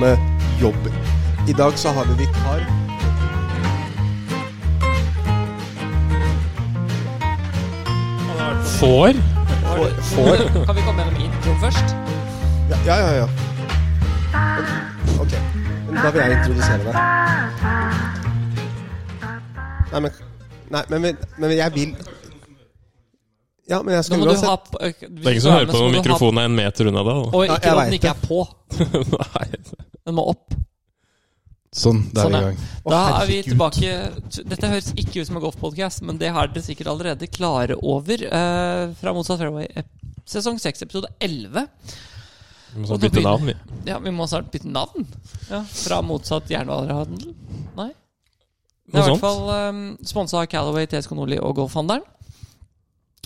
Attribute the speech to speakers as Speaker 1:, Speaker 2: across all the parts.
Speaker 1: med jobber. I dag så har vi vikar.
Speaker 2: Får?
Speaker 1: Får- får.
Speaker 3: Kan vi komme gjennom intro først?
Speaker 1: Ja, ja, ja. ja. Men- Ok. Men da vil jeg introdusere deg. Nei, men Nei, men, men, men jeg vil Ja, men jeg
Speaker 3: Nå
Speaker 1: skal
Speaker 3: må du ha
Speaker 1: uansett
Speaker 3: p- øh, hvis
Speaker 2: Det er
Speaker 3: du
Speaker 2: ingen som
Speaker 3: er
Speaker 2: hører
Speaker 3: med,
Speaker 2: på når
Speaker 3: så må du ha-
Speaker 2: mikrofonen er en meter unna deg, da.
Speaker 3: Og
Speaker 1: Ja,
Speaker 3: ikke
Speaker 1: jeg
Speaker 3: ja,
Speaker 1: vet
Speaker 3: den ikke er på.
Speaker 2: Nei.
Speaker 3: Den må opp.
Speaker 4: Sånn, da er
Speaker 3: Sånn,
Speaker 4: vi i
Speaker 3: ja.
Speaker 4: gang.
Speaker 1: Å,
Speaker 3: Da er vi
Speaker 1: herregud.
Speaker 3: tilbake Dette høres ikke ut som en golfpodcast, men det har dere sikkert allerede klare over eh, fra Motsatt Fairway, eh, sesong 6, episode 11.
Speaker 2: Vi må
Speaker 3: Og
Speaker 2: sånn
Speaker 3: da
Speaker 2: bytte
Speaker 3: begynner-
Speaker 2: navn, vi.
Speaker 3: Ja, vi må snart bytte navn. Ja, fra Motsatt jernvarehandel. Nei. Det
Speaker 2: Noe
Speaker 3: er i
Speaker 2: sånt.
Speaker 3: hvert fall um, sponsa av Calaway, TSK Nordli og Golfhandelen.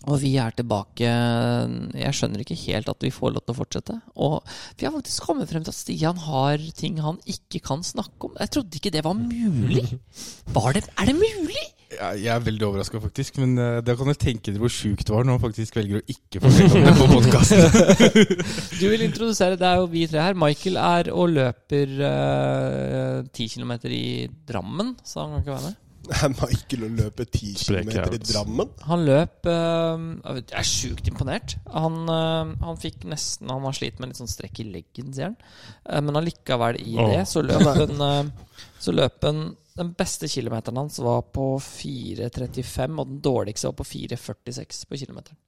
Speaker 3: Og vi er tilbake ehm, Jeg skjønner ikke helt at vi får lov til å fortsette. Og vi har faktisk kommet frem til at Stian har ting han ikke kan snakke om. Jeg trodde ikke det var mulig. Var det, er det mulig?
Speaker 4: Jeg, jeg er veldig overraska, faktisk. Men eh, da kan dere tenke dere hvor sjukt det var når man faktisk velger å ikke fortelle om det på podkasten.
Speaker 3: Du vil introdusere, det er jo vi tre her. Michael er og løper eh, ti kilometer i Drammen, så han kan ikke være med.
Speaker 1: Er Michael å løpe 10
Speaker 2: Sprek
Speaker 1: km i
Speaker 2: out.
Speaker 1: Drammen?
Speaker 3: Han løp eh, Jeg er sjukt imponert. Han, eh, han fikk nesten Han har slitt med litt sånn strekk i leggen, sier han. Eh, men allikevel, i
Speaker 2: Åh.
Speaker 3: det, så løp han eh, Så løp han Den beste kilometeren hans var på 4.35, og den dårligste var på 4.46 på kilometeren.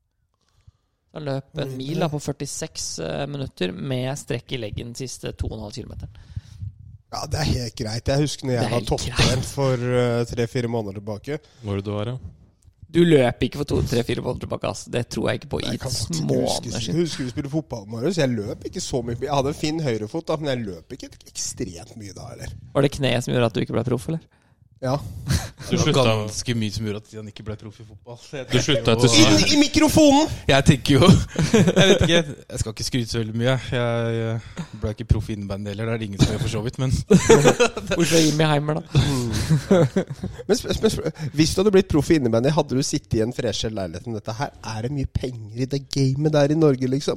Speaker 3: Han løp en mil da, på 46 eh, minutter med strekk i leggen de siste 2,5 km.
Speaker 1: Ja, det er helt greit. Jeg husker når
Speaker 3: Det er
Speaker 1: jeg var
Speaker 3: helt
Speaker 1: topptrent for tre-fire måneder tilbake.
Speaker 2: Hvor du var, ja.
Speaker 3: Du løp ikke for 2-3-4 måneder tilbake, ass. Det tror jeg ikke på i
Speaker 1: Jeg kan faktisk ikke huske,
Speaker 3: måneder
Speaker 1: jeg
Speaker 3: siden.
Speaker 1: husker vi spilte fotball, Marius. Jeg løp ikke så mye. Jeg hadde en fin høyrefot, da, men jeg løp ikke ekstremt mye da heller.
Speaker 3: Var det kneet som gjorde at du ikke ble proff, eller?
Speaker 1: Ja.
Speaker 2: Du
Speaker 4: Det var
Speaker 2: slutta,
Speaker 4: ganske mye som gjorde at han ikke ble proff i fotball. så jeg
Speaker 2: du
Speaker 4: tenker
Speaker 2: slutta
Speaker 4: jo-
Speaker 2: etter
Speaker 1: Inn i mikrofonen!
Speaker 4: Jeg tenker jo Jeg vet ikke, jeg skal ikke skryte så veldig mye. Jeg eh, ble ikke proff innen bandet heller, det er det ingen som gjør for så vidt. Men
Speaker 3: Bortsett fra Jimmy Heimer, da.
Speaker 1: Men sp sp sp hvis du hadde blitt proff i innebandy, hadde du sittet i en freshell leilighet som dette her? Er det mye penger i det gamet der i Norge, liksom?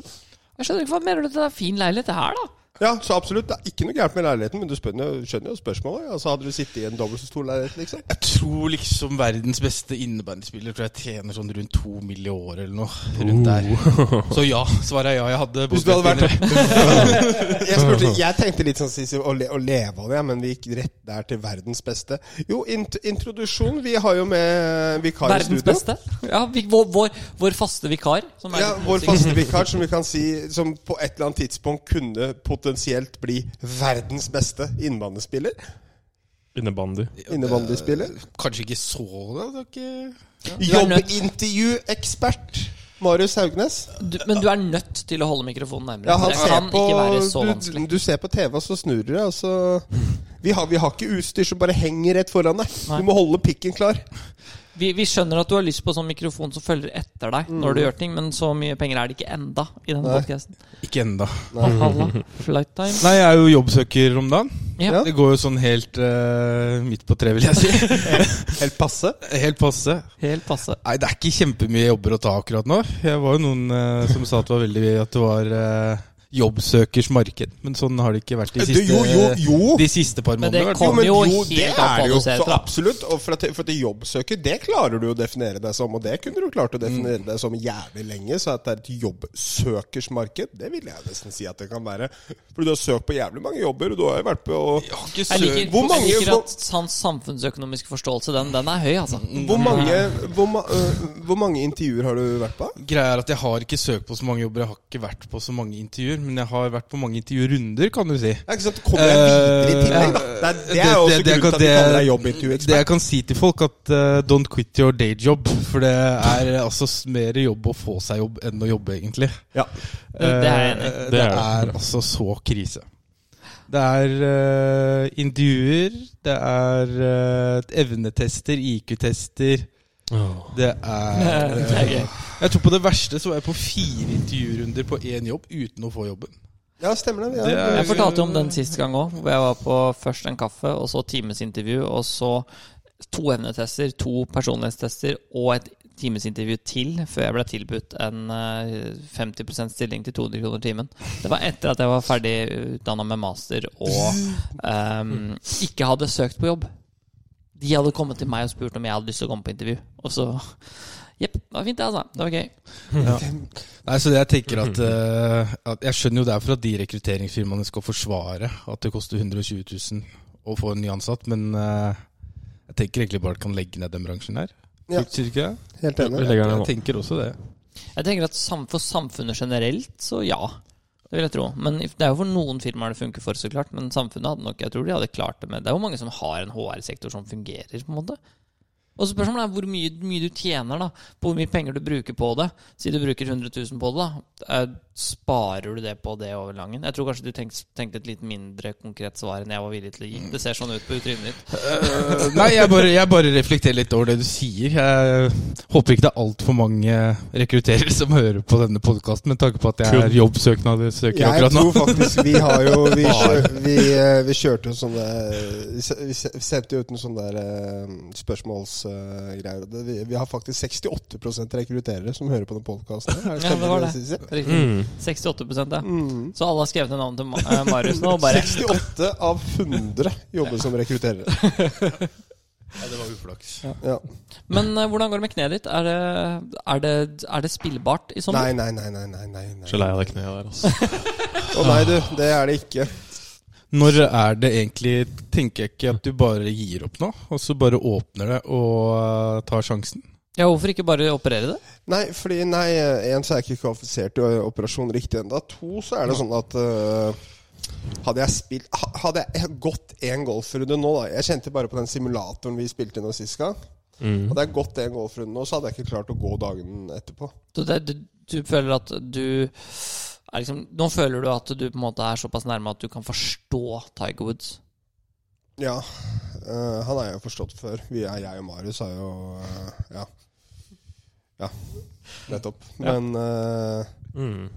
Speaker 3: Jeg skjønner ikke, Hva mener du til den fin leilighet det her, da?
Speaker 1: Ja, så absolutt. Det er ikke noe gærent med leiligheten, men du spør, skjønner jo spørsmålet. Altså, hadde du sittet i en dobbelt så stor leilighet, liksom?
Speaker 4: jeg tror liksom verdens beste innebandyspiller tror jeg tjener sånn rundt to mill. i året eller noe. Rundt der. Så ja, svaret er ja. Jeg hadde
Speaker 1: Oh. Hvis du hadde vært-
Speaker 4: bodd-
Speaker 1: Jeg, spurte, jeg tenkte litt sånn Sisi, å, le, å leve av det, men vi gikk rett der til verdens beste. Jo, int introduksjon. Vi har jo med vikar i
Speaker 3: Verdens
Speaker 1: studio.
Speaker 3: beste? Ja, vi, vår, vår, vår faste vikar. Som er
Speaker 1: Ja, vår faste vikar, som vi kan si Som på et eller annet tidspunkt kunne potensielt bli verdens beste innvandrerspiller.
Speaker 2: innebandy.
Speaker 1: Innebandyspiller.
Speaker 4: Kanskje ikke så det. det er ikke...
Speaker 1: Jobbintervjuekspert Marius Haugnes.
Speaker 3: du, men du er nødt til å holde mikrofonen nærmere.
Speaker 1: Ja, han
Speaker 3: det
Speaker 1: ser
Speaker 3: kan
Speaker 1: på,
Speaker 3: ikke være så
Speaker 1: du,
Speaker 3: vanskelig.
Speaker 1: du ser på TV, og så snur du deg, og så vi har, vi har ikke utstyr som bare henger rett foran deg.
Speaker 3: Nei.
Speaker 1: Du må holde pikken klar.
Speaker 3: Vi, vi skjønner at du har lyst på sånn mikrofon som følger etter deg når du gjør ting, men så mye penger er det ikke enda i denne
Speaker 1: Mm. Nei.
Speaker 3: podkasten.
Speaker 4: Ikke enda.
Speaker 3: Halla, flight time.
Speaker 4: Nei, jeg er jo jobbsøker om dagen.
Speaker 3: Ja.
Speaker 4: Det går jo sånn helt eh, midt på treet, vil jeg si.
Speaker 1: Helt passe.
Speaker 4: Helt passe.
Speaker 3: Helt passe.
Speaker 4: Nei, det er ikke kjempemye jobber å ta akkurat nå. Jeg var jo noen eh, som sa at det var veldig at det var eh, jobbsøkers marked, men sånn har det ikke vært de
Speaker 1: Du,
Speaker 4: siste,
Speaker 1: Eh, jo, jo, jo!
Speaker 4: De siste par
Speaker 3: Men det
Speaker 4: månedene. i hvert
Speaker 3: kom-
Speaker 4: fall.
Speaker 1: men
Speaker 3: jo helt an på hva du ser
Speaker 1: Så
Speaker 3: etter, da.
Speaker 1: absolutt. Og for at, for at jobbsøker, det klarer du å definere deg som. Og det kunne du klart å definere deg som jævlig lenge. Så at det er et jobbsøkersmarked, det vil jeg nesten si at det kan være. For du har søkt på jævlig mange jobber, og du har jo vært på
Speaker 4: Jeg har ikke
Speaker 3: Jeg liker,
Speaker 4: søkt-
Speaker 1: Hvor mange-
Speaker 3: jeg liker at hans samfunnsøkonomiske forståelse, den, den er høy, altså.
Speaker 1: Hvor mange, hvor, ma øh, hvor mange intervjuer har du vært på?
Speaker 4: Greia er at jeg har ikke søkt på så mange jobber, jeg har ikke vært på så mange intervjuer, men jeg har vært på mange intervjurunder, kan du si.
Speaker 1: Ja, ikke sant? Kommer jeg videre i tillegg, da? Det er, det er jo også
Speaker 4: Eh, det- det-
Speaker 1: grunnen til at vi
Speaker 4: det-
Speaker 1: kaller deg
Speaker 4: Det
Speaker 1: jobbintervjuekspert.
Speaker 4: jeg kan si til folk, at eh, don't quit your day job. For det er eh, altså s- mer jobb å få seg jobb enn å jobbe, egentlig.
Speaker 1: Ja.
Speaker 3: Det er jeg enig i.
Speaker 4: Eh,
Speaker 2: Det
Speaker 4: det
Speaker 2: er
Speaker 4: er altså så krise. Det er eh, intervjuer, det er eh, evnetester, IQ-tester, det er eh,
Speaker 3: Det er gøy.
Speaker 4: Jeg tror på det verste så var jeg på fire intervjurunder på én jobb uten å få jobben.
Speaker 1: ja, stemmer det.
Speaker 4: Det
Speaker 1: Vi
Speaker 4: er-
Speaker 1: har
Speaker 3: Jeg fortalte jo om den sist gang òg, hvor jeg var på først en kaffe, og så timesintervju, og så to evnetester, to personlighetstester og et timesintervju til før jeg ble tilbudt en eh, 50 stilling til 200 kroner timen. Det var etter at jeg var ferdig utdanna med master og ehm, ikke hadde søkt på jobb. De hadde kommet til meg og spurt om jeg hadde lyst til å komme på intervju. Og så Jepp, det var fint, det, altså. Det var gøy.
Speaker 4: Nei, så jeg tenker at, eh, at Jeg skjønner jo det er for at de rekrutteringsfirmaene skal forsvare at det koster 120 000 å få en ny ansatt, men eh, jeg tenker egentlig bare at kan legge ned den bransjen her.
Speaker 1: Ja.
Speaker 4: Sier du ikke det?
Speaker 1: Helt
Speaker 2: Vi
Speaker 1: enig.
Speaker 2: legger den
Speaker 4: Jeg
Speaker 2: nå.
Speaker 4: tenker også det.
Speaker 3: Jeg tenker at sam For samfunnet generelt, så ja. Det vil jeg tro. Men if- det er jo for noen firmaer det funker for, så klart. Men samfunnet hadde nok Jeg tror de hadde klart det med Det er jo mange som har en HR-sektor som fungerer, på en måte. Og så spørsmålet er hvor mye, mye du tjener, da. På hvor mye penger du bruker på det. Si du bruker 100 000 på det, da. Eh, Sparer du det på det over langen? Jeg tror kanskje du tenkte, tenkte et litt mindre konkret svar enn jeg var villig til å gi. Det ser sånn ut på trynet ditt.
Speaker 4: Eh, nei, jeg bare, jeg bare reflekterer litt over det du sier. Jeg håper ikke det er altfor mange rekrutterere som hører på denne podkasten, med tanke på at jeg
Speaker 2: Kun.
Speaker 4: er jobbsøknadsøker
Speaker 1: Jeg
Speaker 4: akkurat nå.
Speaker 1: tror faktisk vi har jo Vi, kjør, vi, eh, vi kjørte jo sånne vi se- Vi se- sendte jo ut en sånn der spørsmålsgreier. Vi, vi har faktisk 68 rekrutterere som hører på den podkasten.
Speaker 3: Ja, det var det. Riktig.
Speaker 2: Mm.
Speaker 3: 68 ja.
Speaker 1: Mm.
Speaker 3: Så alle har skrevet ned navnet til Ma- eh, Marius nå, og bare
Speaker 1: 68 av 100 jobber som rekrutterere.
Speaker 4: det var uflaks.
Speaker 1: Ja.
Speaker 3: Men eh, hvordan går det med kneet ditt? Er det, er det, er det spillbart i sommer?
Speaker 1: Nei, nei, nei. nei, nei, nei, nei.
Speaker 2: Så lei av det kneet der, altså.
Speaker 1: Å nei, du. Det er det ikke.
Speaker 4: Når er det egentlig Tenker jeg ikke at du bare gir opp nå, og så bare åpner det og eh, tar sjansen?
Speaker 3: Ja, hvorfor ikke bare operere det?
Speaker 1: Nei, fordi nei, én så er jeg ikke kvalifisert til ø, operasjon riktig ennå. To så er det sånn at ø, hadde jeg spilt ha- Hadde jeg gått én golfrunde nå, da Jeg kjente bare på den simulatoren vi spilte nå sist gang.
Speaker 2: Mm.
Speaker 1: Hadde jeg gått én golfrunde nå, så hadde jeg ikke klart å gå dagen etterpå.
Speaker 3: Du, det du, du føler at du er liksom, Nå føler du at du på en måte er såpass nærme at du kan forstå Tiger Woods.
Speaker 1: Ja. ø, Eh, han er jo forstått før. Vi er, jeg og Marius er jo ø, Ja. Ja. Nettopp. Men ø,
Speaker 2: Mm.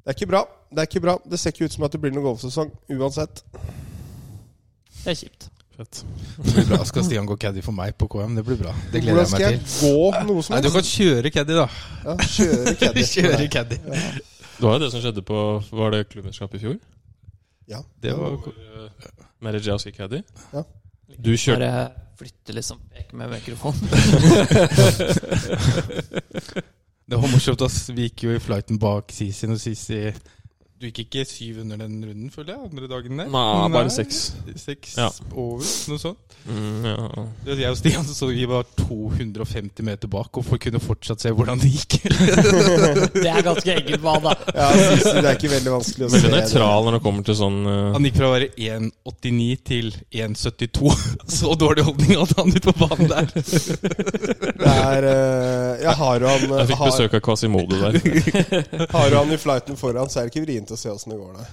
Speaker 1: det er ikke bra. Det er ikke bra. Det ser ikke ut som at det blir noen golfsesong uansett.
Speaker 3: Det er kjipt.
Speaker 2: Fett.
Speaker 4: Det blir bra. Skal Stian gå caddy for meg på KM? Det blir bra. Det gleder
Speaker 1: Hvordan
Speaker 4: jeg
Speaker 1: skal
Speaker 4: meg
Speaker 1: jeg
Speaker 4: til.
Speaker 1: gå noe som
Speaker 4: Nei, du
Speaker 1: helst?
Speaker 4: kan kjøre caddy, da.
Speaker 1: Ja, kjøre caddy.
Speaker 4: Kjøre caddy.
Speaker 2: Det var jo det som skjedde på Var det klubbmesterskapet i fjor? eh,
Speaker 1: Ja.
Speaker 4: Det var
Speaker 2: Mary J. Asker Caddy?
Speaker 1: Ja.
Speaker 2: Du kjørte
Speaker 3: Bare flytte liksom vekk med mikrofonen.
Speaker 4: Det var morsomt, ass. Vi gikk jo i flighten bak Sisi og Sisi Du gikk ikke syv under den runden, føler jeg? Andre dagen der?
Speaker 2: Nei, bare seks.
Speaker 4: Seks
Speaker 2: Ja.
Speaker 4: over, noe sånt.
Speaker 2: mm, ja.
Speaker 4: Det var Jeg og Stian så vi var 250 meter bak og for- kunne fortsatt se hvordan det gikk.
Speaker 3: Det er ganske enkelt hva da.
Speaker 1: Ja, Sisi, det er ikke veldig vanskelig å
Speaker 2: Veldig
Speaker 1: se.
Speaker 2: nøytral når det kommer til sånn eh,
Speaker 4: Han gikk fra å være 1,89 til 1,72. Så dårlig holdning hadde han ute på banen der.
Speaker 1: Det, det er, eh, jeg har jo han,
Speaker 2: Jeg fikk
Speaker 1: har,
Speaker 2: besøk av Quasimodo der.
Speaker 1: har jo han i flighten foran, så er det ikke vrient å se åssen det går, nei.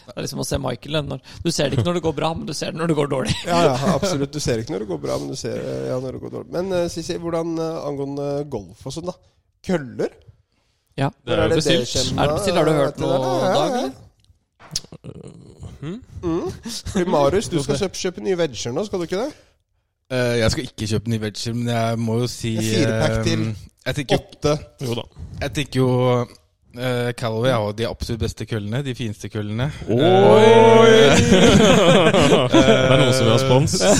Speaker 3: Det er liksom å se Michael. da, Når, du ser det ikke når det går bra, men du ser det når det går dårlig.
Speaker 1: Ja, ja, absolutt. Du ser ikke når det går bra, men du ser eh, ja, når det går dårlig. Men eh, Sisi, hvordan eh, angående golf og sånn, da? Køller?
Speaker 3: Ja.
Speaker 1: Hvor
Speaker 2: Det er
Speaker 1: skjemaet,
Speaker 2: jo bestilt.
Speaker 3: Er det bestilt? Har du hørt
Speaker 1: til der?
Speaker 3: noe,
Speaker 1: Ja, ja,
Speaker 3: Dag,
Speaker 1: ja.
Speaker 3: eller?
Speaker 2: Hm?
Speaker 1: Fordi Marius, du skal kjøpe, kjøpe nye vegger nå, skal du ikke det?
Speaker 4: Eh, jeg skal ikke kjøpe ny vegger, men jeg må jo si
Speaker 1: Det er firepack
Speaker 4: eh,
Speaker 1: til.
Speaker 4: Jeg tenker jo
Speaker 1: Åtte.
Speaker 2: Jo da.
Speaker 4: Jeg tenker jo eh, Callaway har jo de absolutt beste køllene. De fineste køllene.
Speaker 2: det er noen som vil ha spons.
Speaker 3: Jeg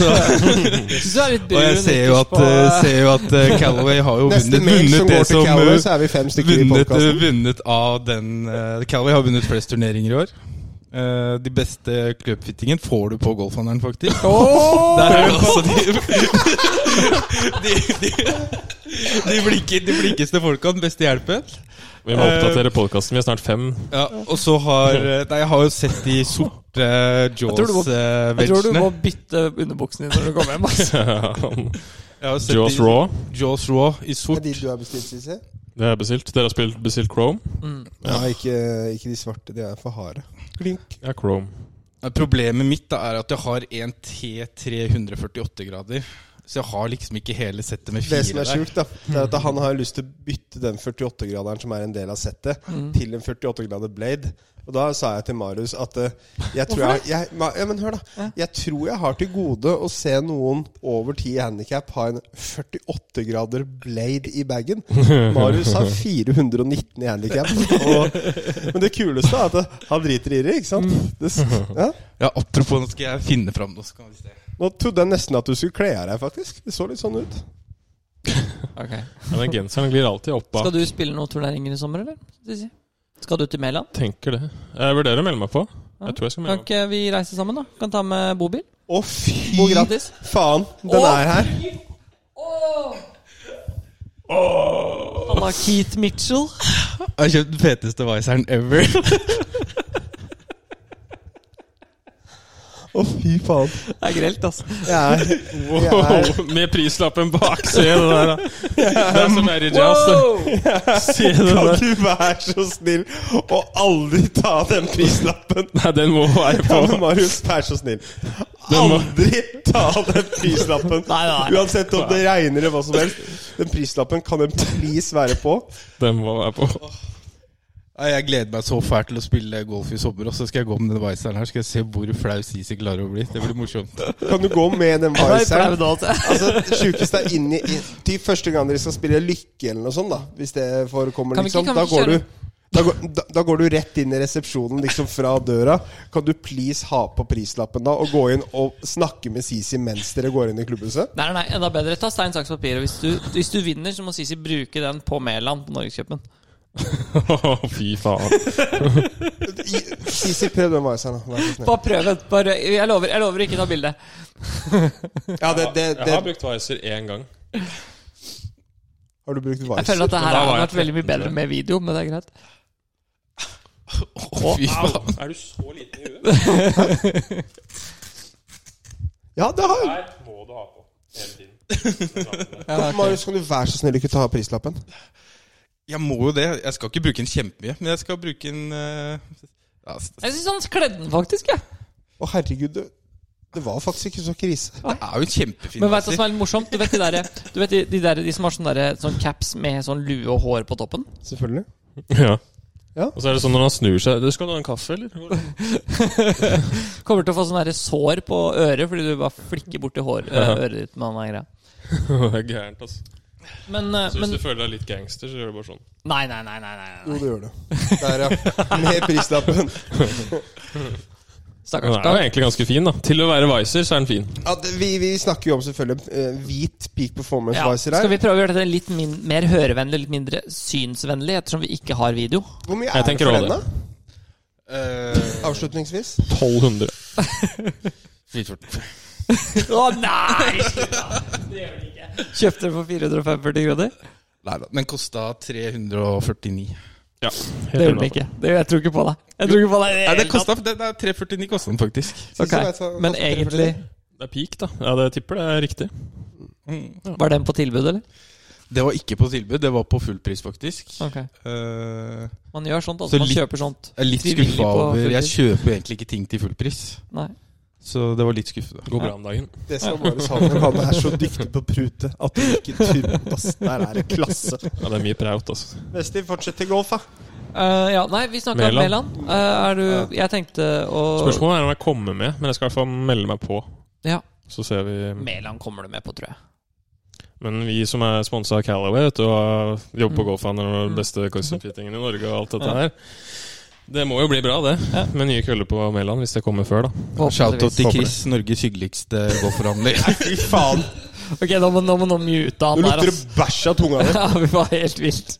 Speaker 3: synes det er litt
Speaker 4: Og
Speaker 3: brun
Speaker 4: jeg ser jo at,
Speaker 3: ytterst på-
Speaker 4: eh, ser jo at eh, Callaway har jo
Speaker 1: Neste
Speaker 4: vunnet,
Speaker 1: mail som
Speaker 4: vunnet det
Speaker 1: går til
Speaker 4: som
Speaker 1: Callaway,
Speaker 4: eh,
Speaker 1: så er vi fem stykker i
Speaker 4: vunnet, eh,
Speaker 1: podkasten.
Speaker 4: vunnet av den eh, Callaway har vunnet flest turneringer i år. Eh, de beste clubfittingen får du på golfhandelen, faktisk. Der er det altså de De, de, de, flinke- de flinkeste folka, den beste hjelpen.
Speaker 2: Vi må oppdatere podkasten. Vi er snart fem.
Speaker 4: Ja, og så har eh, Nei, jeg har jo sett de sorte
Speaker 3: tror du må- Jeg tror du
Speaker 4: Jaws-vegene.
Speaker 3: må bytte underbuksen din når du kommer hjem. altså. ass.
Speaker 2: Jaws Raw.
Speaker 4: Jaws Raw i
Speaker 1: Er
Speaker 4: sort.
Speaker 1: de du har bestilt, Sisi?
Speaker 2: Det er bestilt. Dere har spilt bestilt Chrome?
Speaker 1: Ja, ikke, ikke de svarte. De er for harde. Klink.
Speaker 2: Ja, Chrome.
Speaker 4: Problemet mitt da er at jeg har en T348-grader. Så jeg har liksom ikke hele settet med
Speaker 1: Det
Speaker 4: fire
Speaker 1: som er
Speaker 4: der.
Speaker 1: sjukt, da, det er at han har lyst til å bytte den 48-graderen som er en del av settet, til en 48-grader blade. Og da sa jeg til Marius at eh, jeg tror jeg, jeg, Ma- ja, men hør da, jeg tror jeg har til gode å se noen over 10 i handikap ha en 48-grader blade i bagen. Marius har 419 i handikap. Men det kuleste er at eh, han driter i det, ikke sant? Det, s- ja.
Speaker 4: Ja, Apropos, nå skal jeg finne fram noe. så kan vi se.
Speaker 1: Nå trodde jeg nesten at du skulle kle av deg, faktisk. Det så litt sånn ut.
Speaker 3: Ok.
Speaker 2: Ja, men genseren glir alltid opp bak.
Speaker 3: Skal du spille noen turneringer i sommer, eller? Sissi? Skal du til Mæland?
Speaker 2: Tenker det. Jeg vurderer å melde meg på.
Speaker 3: Ja.
Speaker 2: Jeg tror jeg skal
Speaker 3: Kan
Speaker 2: melde meg
Speaker 3: ikke vi reise sammen, da? Kan ta med bobil?
Speaker 1: Å, fy
Speaker 3: Bo gratis.
Speaker 1: faen, den
Speaker 3: Å,
Speaker 1: er her.
Speaker 3: Han har Keith Mitchell.
Speaker 4: Jeg har kjøpt den feteste viseren ever.
Speaker 1: Å, fy faen.
Speaker 3: Det er grelt, altså.
Speaker 1: Jeg er,
Speaker 2: på.
Speaker 1: jeg er,
Speaker 2: Wow, med prislappen bak! Se det der, da. Det er som er i jazz. det. Se det
Speaker 1: kan
Speaker 2: der.
Speaker 1: du være så snill å aldri ta den prislappen?
Speaker 2: Nei, den må være
Speaker 1: Ja, men
Speaker 2: på.
Speaker 1: Marius, vær så snill.
Speaker 2: må-
Speaker 1: Aldri ta den prislappen!
Speaker 3: Nei, nei.
Speaker 1: Uansett om det regner eller hva som helst. Den prislappen kan en please være på.
Speaker 2: Den må være på.
Speaker 4: Nei, Jeg gleder meg så fælt til å spille golf i sommer. Og så skal jeg gå med den viseren her Skal jeg se hvor flau Sisi klarer å bli. Det blir morsomt.
Speaker 1: Kan du gå med den
Speaker 3: Jeg er flau
Speaker 1: viseren?
Speaker 3: nå, altså.
Speaker 1: Altså, det sjukeste er inn i inn- Til første gang dere skal spille Lykke eller noe sånt, da. Hvis det forekommer,
Speaker 3: Kan vi
Speaker 1: liksom.
Speaker 3: ikke- kan vi
Speaker 1: Da
Speaker 3: ikke
Speaker 1: går,
Speaker 3: kjøre-
Speaker 1: du, da, går, da, da går du rett inn i resepsjonen, liksom fra døra. Kan du please ha på prislappen da, og gå inn og snakke med Sisi mens dere går inn i klubbhuset?
Speaker 3: Nei, nei, nei, enda bedre. Ta stein, saks, papir. Og hvis du, hvis du vinner, så må Sisi bruke den på Mæland på Norgescupen.
Speaker 2: Fy faen.
Speaker 1: I- Sisi, prøv den viseren, da. Vær så snill.
Speaker 3: Bare prøv den. Bare, jeg lover jeg lover ikke å ta bilde.
Speaker 1: Ja, det, det,
Speaker 2: Jeg har
Speaker 1: det,
Speaker 2: brukt Wiser én gang.
Speaker 1: har du brukt
Speaker 3: Jeg
Speaker 1: viseren?
Speaker 3: føler at det
Speaker 2: Men
Speaker 3: her
Speaker 2: da
Speaker 3: hadde
Speaker 2: var jeg
Speaker 3: vært veldig mye
Speaker 2: 13,
Speaker 3: bedre med video, men det er greit.
Speaker 4: Å, fy faen.
Speaker 2: Er du så liten i huet?
Speaker 1: Ja, det har
Speaker 2: Der må du ha på. Hele tiden.
Speaker 1: Marius, kan du være så snill ikke ta av prislappen?
Speaker 4: Jeg må jo det. Jeg skal ikke bruke den kjempemye, men jeg skal bruke den eh, ja, s-
Speaker 3: Jeg syns han kledde den, faktisk. jeg.
Speaker 1: Å, herregud, det, det var faktisk ikke så krise.
Speaker 4: Det er jo en kjempefin
Speaker 3: Men vet du hva
Speaker 4: viser.
Speaker 3: som er litt morsomt? Du vet de, der, du vet de, de, der, de som har sånn derre- sånn caps med sånn lue og hår på toppen?
Speaker 1: Selvfølgelig.
Speaker 2: Ja.
Speaker 1: Ja.
Speaker 2: Og så er det sånn når han snur seg Du skal du ha en kaffe, eller?
Speaker 3: Kommer til å få sånn derre sår på øret fordi du bare flikker borti hår, ø, øret ditt med den der greia.
Speaker 2: Det er gærent, altså.
Speaker 3: Men, ø,
Speaker 2: Så hvis
Speaker 3: men
Speaker 2: du føler deg litt gangster, så gjør du bare sånn.
Speaker 3: Nei, nei, nei. nei, nei,
Speaker 1: Jo,
Speaker 3: nei.
Speaker 1: det gjør det. Der, ja. Med prislappen.
Speaker 2: Den
Speaker 3: Stakkars.
Speaker 2: er jo egentlig ganske fin, da. Til å være Wiser, så er den fin.
Speaker 1: Ja, det, vi, vi snakker jo om selvfølgelig eh, hvit peak performance
Speaker 3: Ja.
Speaker 1: visor
Speaker 3: Skal
Speaker 1: her.
Speaker 3: vi prøve å gjøre dette litt min mer hørevennlig, litt mindre synsvennlig, ettersom vi ikke har video?
Speaker 1: Hvor mye
Speaker 2: Jeg
Speaker 1: er det
Speaker 2: tenker
Speaker 1: for
Speaker 2: også
Speaker 1: den,
Speaker 2: det.
Speaker 1: da?
Speaker 4: Eh,
Speaker 1: Avslutningsvis.
Speaker 2: 1200.
Speaker 3: Å nei! Kjøpte den for 445 kroner?
Speaker 4: Nei da. Den kosta 349.
Speaker 2: Ja.
Speaker 3: Det gjorde den ikke. Det, jeg tror ikke på deg. Jeg tror ikke på deg i det
Speaker 4: Nei,
Speaker 3: hele
Speaker 4: den kosta den er 349 kosta den faktisk.
Speaker 3: tatt. Ok,
Speaker 1: Siste vet hva-
Speaker 3: Men
Speaker 1: hva-
Speaker 3: egentlig
Speaker 2: Det er peak, da. Ja, det tipper det er riktig.
Speaker 3: Var den på tilbud, eller?
Speaker 4: Mm. Det var ikke på tilbud, det var på fullpris, faktisk.
Speaker 3: Ok
Speaker 4: Eh,
Speaker 3: Man gjør sånt,
Speaker 4: Så
Speaker 3: altså. Man
Speaker 4: litt-
Speaker 3: kjøper sånt.
Speaker 4: jeg er litt
Speaker 3: Frivillig
Speaker 4: skuffa
Speaker 3: på
Speaker 4: over Jeg
Speaker 3: fullpris.
Speaker 4: kjøper jo egentlig ikke ting til fullpris,
Speaker 3: Nei.
Speaker 4: så det var litt skuffende.
Speaker 2: Går bra om dagen.
Speaker 1: Det som var Marius Hagen, han er så dyktig på prute at du ikke tror ass. Der er det klasse.
Speaker 2: Ja, det er mye praut, altså.
Speaker 1: Vesti, fortsett til golf, da.
Speaker 3: Eh, ja, nei, vi snakka om Mæland.
Speaker 2: Mæland.
Speaker 3: Eh, er du Jeg tenkte å
Speaker 2: Spørsmålet er om jeg kommer med, men jeg skal i hvert fall melde meg på.
Speaker 3: Ja.
Speaker 2: Så ser vi
Speaker 3: Mæland kommer du med på, tror jeg.
Speaker 2: Men vi som er sponsa av Calaway, vet du, og jobber på
Speaker 3: Mm.
Speaker 2: Golfhandelen og den
Speaker 3: Mm.
Speaker 2: beste custom-fittingen i Norge og alt dette her Det må jo bli bra, det.
Speaker 3: Ja.
Speaker 2: Med nye køller på Mæland, hvis det kommer før, da.
Speaker 4: Shout-out til
Speaker 3: Håper det.
Speaker 4: Chris, Norges hyggeligste golfforhandler.
Speaker 1: Fy faen.
Speaker 3: Ok, nå må, nå må noen mute han
Speaker 1: Nå
Speaker 3: der,
Speaker 1: lukter
Speaker 3: ass.
Speaker 1: det bæsj av tunga di.
Speaker 3: Ja, vi var helt vilt.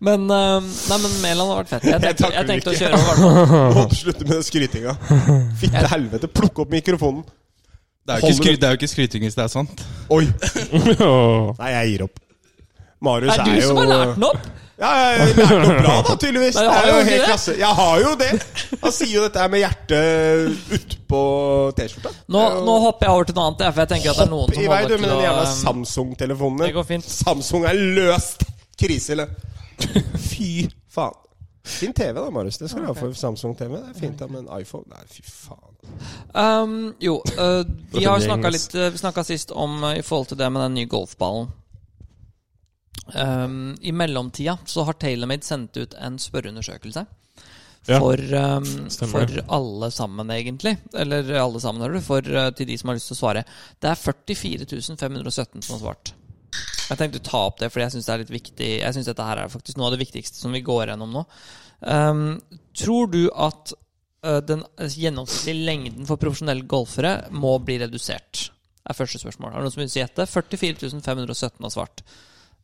Speaker 3: Men eh, Nei, men Mæland har vært fett. Jeg
Speaker 1: Jeg
Speaker 3: tenkte,
Speaker 1: takker
Speaker 3: jeg tenkte å
Speaker 1: ikke.
Speaker 3: kjøre over.
Speaker 1: Håper slutter med den skrytinga. Fitte helvete, plukk opp mikrofonen.
Speaker 4: Det er jo ikke,
Speaker 1: Holder-
Speaker 4: skry, det er jo ikke skryting hvis det er sant.
Speaker 1: Oi.
Speaker 2: Åh.
Speaker 1: Nei, jeg gir opp. Marius
Speaker 3: Det
Speaker 1: er,
Speaker 3: er du
Speaker 1: jo
Speaker 3: som har lært den opp!
Speaker 1: Ja, ja, ja, det er noe bra, da, tydeligvis. Det
Speaker 3: Nei, jeg har
Speaker 1: er jo
Speaker 3: jo
Speaker 1: helt
Speaker 3: ikke det.
Speaker 1: klasse. Jeg har jo det. Han sier jo dette her med hjertet utpå T-skjorta.
Speaker 3: Nå, nå hopper jeg over til noe annet, jeg, for jeg tenker at det er noen
Speaker 1: Hopp
Speaker 3: som
Speaker 1: i vei, du,
Speaker 3: holder
Speaker 1: med
Speaker 3: til
Speaker 1: den
Speaker 3: å
Speaker 1: jævla
Speaker 3: eh,
Speaker 1: Samsung-telefonen
Speaker 3: Det
Speaker 1: din.
Speaker 3: går fint.
Speaker 1: Samsung er løst! Krise, eller? Fy faen. Fin TV, da, Marius. Det skal du ha for Samsung-TV. Det er fint da, med en iPhone. Nei, fy faen.
Speaker 3: Um, jo, eh, vi har
Speaker 2: Gjengs.
Speaker 3: snakka litt eh, Vi snakka sist om eh, i forhold til det med den nye golfballen. Um, I mellomtida så har TaylorMade sendt ut en spørreundersøkelse.
Speaker 2: Ja.
Speaker 3: For, um,
Speaker 2: Stemmer
Speaker 3: for alle sammen, egentlig. Eller alle sammen, hører du. For, eh, til de som har lyst til å svare. Det er 44 517 som har svart. Jeg tenkte å ta opp det, fordi jeg syns det er litt viktig. Jeg synes dette her er faktisk noe av det viktigste som vi går gjennom nå. Um, tror du at eh, den gjennomsnittlige lengden for profesjonelle golfere må bli redusert? er første spørsmål. Er det noen som vil gjette? 44 517 har svart.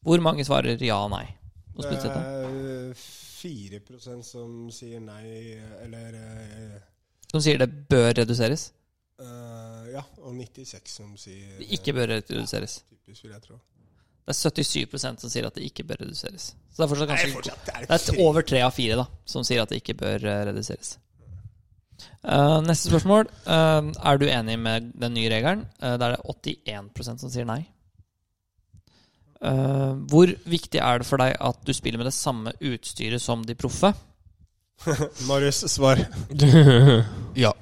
Speaker 3: Hvor mange svarer ja og nei? Noen som vil gjette?
Speaker 1: er 4 som sier nei, eller eh,
Speaker 3: Som sier det bør reduseres?
Speaker 1: eh, Ja, og 96 som sier
Speaker 3: Det ikke bør reduseres.
Speaker 1: Typisk, vil jeg tro.
Speaker 3: Det er 77 som sier at det ikke bør reduseres. Så det er fortsatt ganske
Speaker 1: fortsatt,
Speaker 3: Det er et over tre av fire da, som sier at det ikke bør eh, reduseres. Eh, neste spørsmål. Eh, er du enig med den nye regelen? Eh, da er det 81 som sier nei. Eh, hvor viktig er det for deg at du spiller med det samme utstyret som de proffe?
Speaker 1: Marius, svar.
Speaker 4: Ja.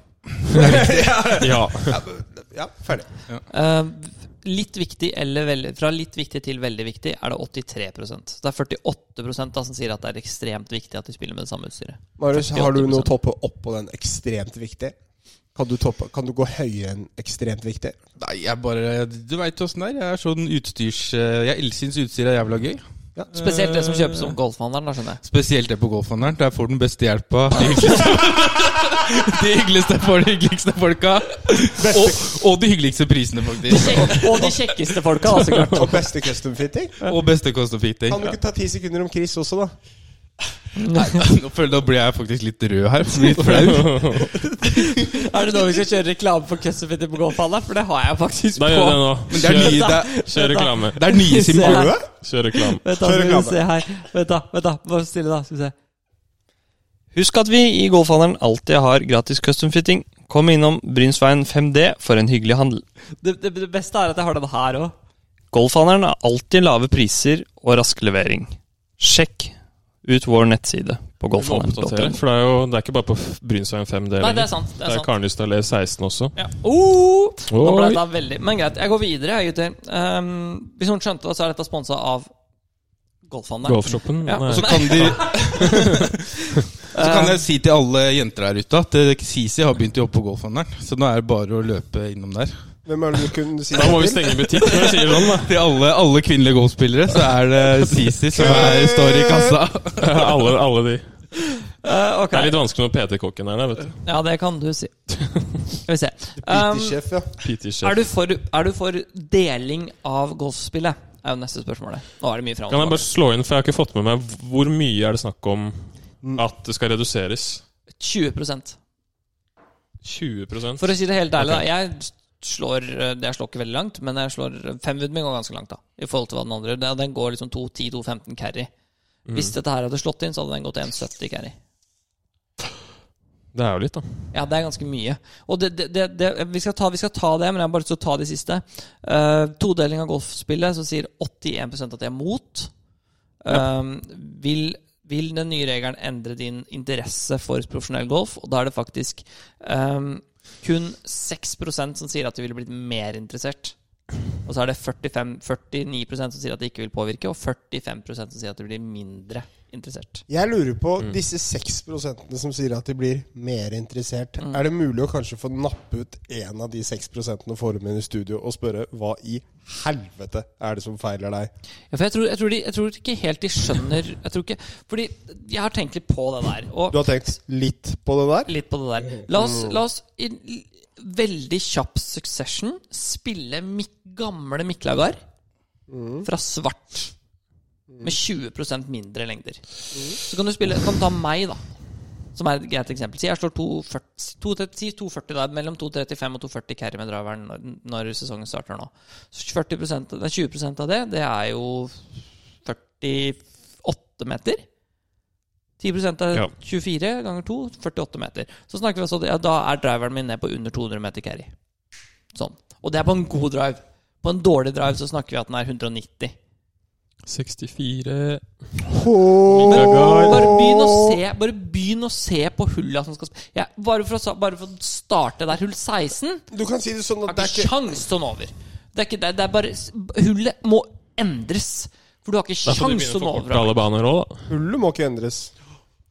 Speaker 2: ja.
Speaker 1: Ja, ferdig.
Speaker 3: Eh, litt viktig eller veldig, Fra litt viktig til veldig viktig er det 83 Så det er 48 da, som sier at det er ekstremt viktig at de spiller med det samme utstyret.
Speaker 1: Marius, har du
Speaker 3: 48%.
Speaker 1: noe å toppe opp på den ekstremt viktig? Kan du, toppe, kan du gå høyere enn ekstremt viktig?
Speaker 4: Nei, jeg bare Du veit åssen det er. Jeg er sånn utstyrs... Jeg elsker utstyr er jævla gøy.
Speaker 3: Spesielt det som kjøpes som golfhandleren, da, skjønner jeg.
Speaker 4: Spesielt det på golfhandelen. Der får du den beste hjelpa. De hyggeligste, de hyggeligste, for de hyggeligste folka. Og, og de hyggeligste prisene, faktisk.
Speaker 3: Og de kjekkeste folka, altså, da, så klart.
Speaker 1: Og beste custom fitting?
Speaker 4: Og beste kost og fitting.
Speaker 1: Kan du ikke ta ti sekunder om Chris også, da?
Speaker 4: Nå føler jeg da blir jeg faktisk litt rød her. for jeg blir Litt flau.
Speaker 3: Er det nå vi skal kjøre reklame for Custofitter på golfhandelen? For det har jeg faktisk
Speaker 2: Da
Speaker 3: på.
Speaker 2: gjør vi det nå.
Speaker 4: Men det er nye, det er,
Speaker 2: Kjør reklame.
Speaker 4: det er nye
Speaker 3: Se
Speaker 4: sim...
Speaker 3: her.
Speaker 1: Rød?
Speaker 2: Kjør reklame.
Speaker 3: Vent,
Speaker 1: Kjør
Speaker 3: da, skal vi
Speaker 1: reklame.
Speaker 3: se her. Vent, da. vent da Bare stille, da. Skal vi se. Husk at vi i Golfhandelen alltid har gratis customfitting.
Speaker 5: Kom innom Brynsveien 5D for en hyggelig handel.
Speaker 3: Det, det, det beste er at jeg har den her òg.
Speaker 5: Golfhandelen har alltid lave priser og rask levering. Sjekk ut vår nettside på
Speaker 2: Vi må oppdatere,
Speaker 5: golfhandelen.no.
Speaker 2: for det er jo det er ikke bare på F- Brynsveien 5D
Speaker 3: Nei, det
Speaker 2: lenger.
Speaker 3: er sant. Det
Speaker 2: Det
Speaker 3: er
Speaker 2: er
Speaker 3: sant.
Speaker 2: Karnlyst allé 16 også.
Speaker 3: Ja. Oh, nå ble
Speaker 2: Oi.
Speaker 3: dette veldig Men greit, jeg går videre, jeg, gutter. Ehm, hvis noen skjønte det, så er dette sponsa av Golfhandelen.
Speaker 2: Golfshoppen.
Speaker 3: Ja,
Speaker 2: nei.
Speaker 4: Så kan, de, så kan jeg si til alle jenter der ute at eh, Sisi har begynt å jobbe på golfhandelen. Så nå er det bare å løpe innom der.
Speaker 1: Hvem er det du kunne si
Speaker 2: Da må vi
Speaker 1: det til?
Speaker 2: stenge butikk når jeg sier sånn, da.
Speaker 4: Til alle, alle kvinnelige golfspillere så er det Sisi som er, står i kassa.
Speaker 2: alle, alle de.
Speaker 3: Eh, ok.
Speaker 2: Det er litt vanskelig når PT-kokken er der, vet du.
Speaker 3: Ja, det kan du si. Skal vi se. Ehm,
Speaker 1: Pitesjef, ja.
Speaker 2: PT-sjef.
Speaker 3: Er du, for, er du for deling av golfspillet? Er jo neste spørsmålet. Nå er det mye fram
Speaker 2: Kan jeg
Speaker 3: og
Speaker 2: bare slå inn, for jeg har ikke fått med meg hvor mye er det snakk om
Speaker 3: Mm.
Speaker 2: at det skal reduseres?
Speaker 3: tilbake. 20
Speaker 2: 20
Speaker 3: For å si det helt ærlig,
Speaker 2: Ok.
Speaker 3: da. Jeg slår, eh, jeg slår ikke veldig langt, men jeg slår femwooden min går ganske langt. da I forhold til hva den andre Den- Den går liksom 2-10-2-15 carry. Hvis dette her hadde slått inn, så hadde den gått 1,70 carry.
Speaker 2: Det er jo litt, da.
Speaker 3: Ja, det er ganske mye. Og det, det, det, det, vi, skal ta, vi skal ta det, men jeg har bare lyst til å ta de siste. Eh, todeling av golfspillet, så sier 81 at de er mot. Eh, vil, vil den nye regelen endre din interesse for profesjonell golf? Og da er det faktisk eh, kun 6 som sier at de ville blitt mer interessert. Og så er det 45, 49 som sier at de ikke vil påvirke, og 45 som sier at de blir mindre interessert.
Speaker 1: Jeg lurer på
Speaker 3: Mm.
Speaker 1: disse 6 som sier at de blir mer interessert.
Speaker 3: Mm.
Speaker 1: Er det mulig å kanskje få nappe ut en av de 6 og få dem inn i studio og spørre hva i helvete er det som feiler deg?
Speaker 3: Ja, for jeg tror, jeg, tror de, jeg tror ikke helt de skjønner jeg tror ikke, Fordi jeg har tenkt litt på det der.
Speaker 1: Du
Speaker 3: Og
Speaker 1: har tenkt litt på det der?
Speaker 3: litt på det der. La oss, la oss i l- veldig kjapp succession spille mitt gamle Miklagard fra svart. Med 20 mindre lengder. Så kan du spille Kan du ta meg, da. Som er et greit eksempel. Si jeg slår 240, 230 si 240 der, mellom 235 og 240 carry med driveren når, når sesongen starter nå. Så 40 det er 20 av det, det er jo 48 meter. 10 er
Speaker 2: Ja.
Speaker 3: 24 ganger 2, 48 meter. Så snakker vi altså ja, Da er driveren min ned på under 200 meter carry. Sånn. Og det er på en god drive. På en dårlig drive så snakker vi at den er 190.
Speaker 2: 64
Speaker 3: Bare begynn å se, bare begynn å se på hulla som skal sp- ja, bare, for å, sa- bare for å starte der. Hull 16
Speaker 1: Du kan si det sånn at
Speaker 3: har
Speaker 1: det er
Speaker 3: ikke
Speaker 1: ikke
Speaker 3: sjans til å nå over. Det er ikke det. det er bare, s- hullet må endres. For du har ikke
Speaker 2: Da får du
Speaker 3: sjans
Speaker 2: begynne
Speaker 3: til
Speaker 2: sånn å
Speaker 3: å nå
Speaker 2: forkorte
Speaker 3: over.
Speaker 2: alle baner òg, da.
Speaker 1: Hullet må ikke endres.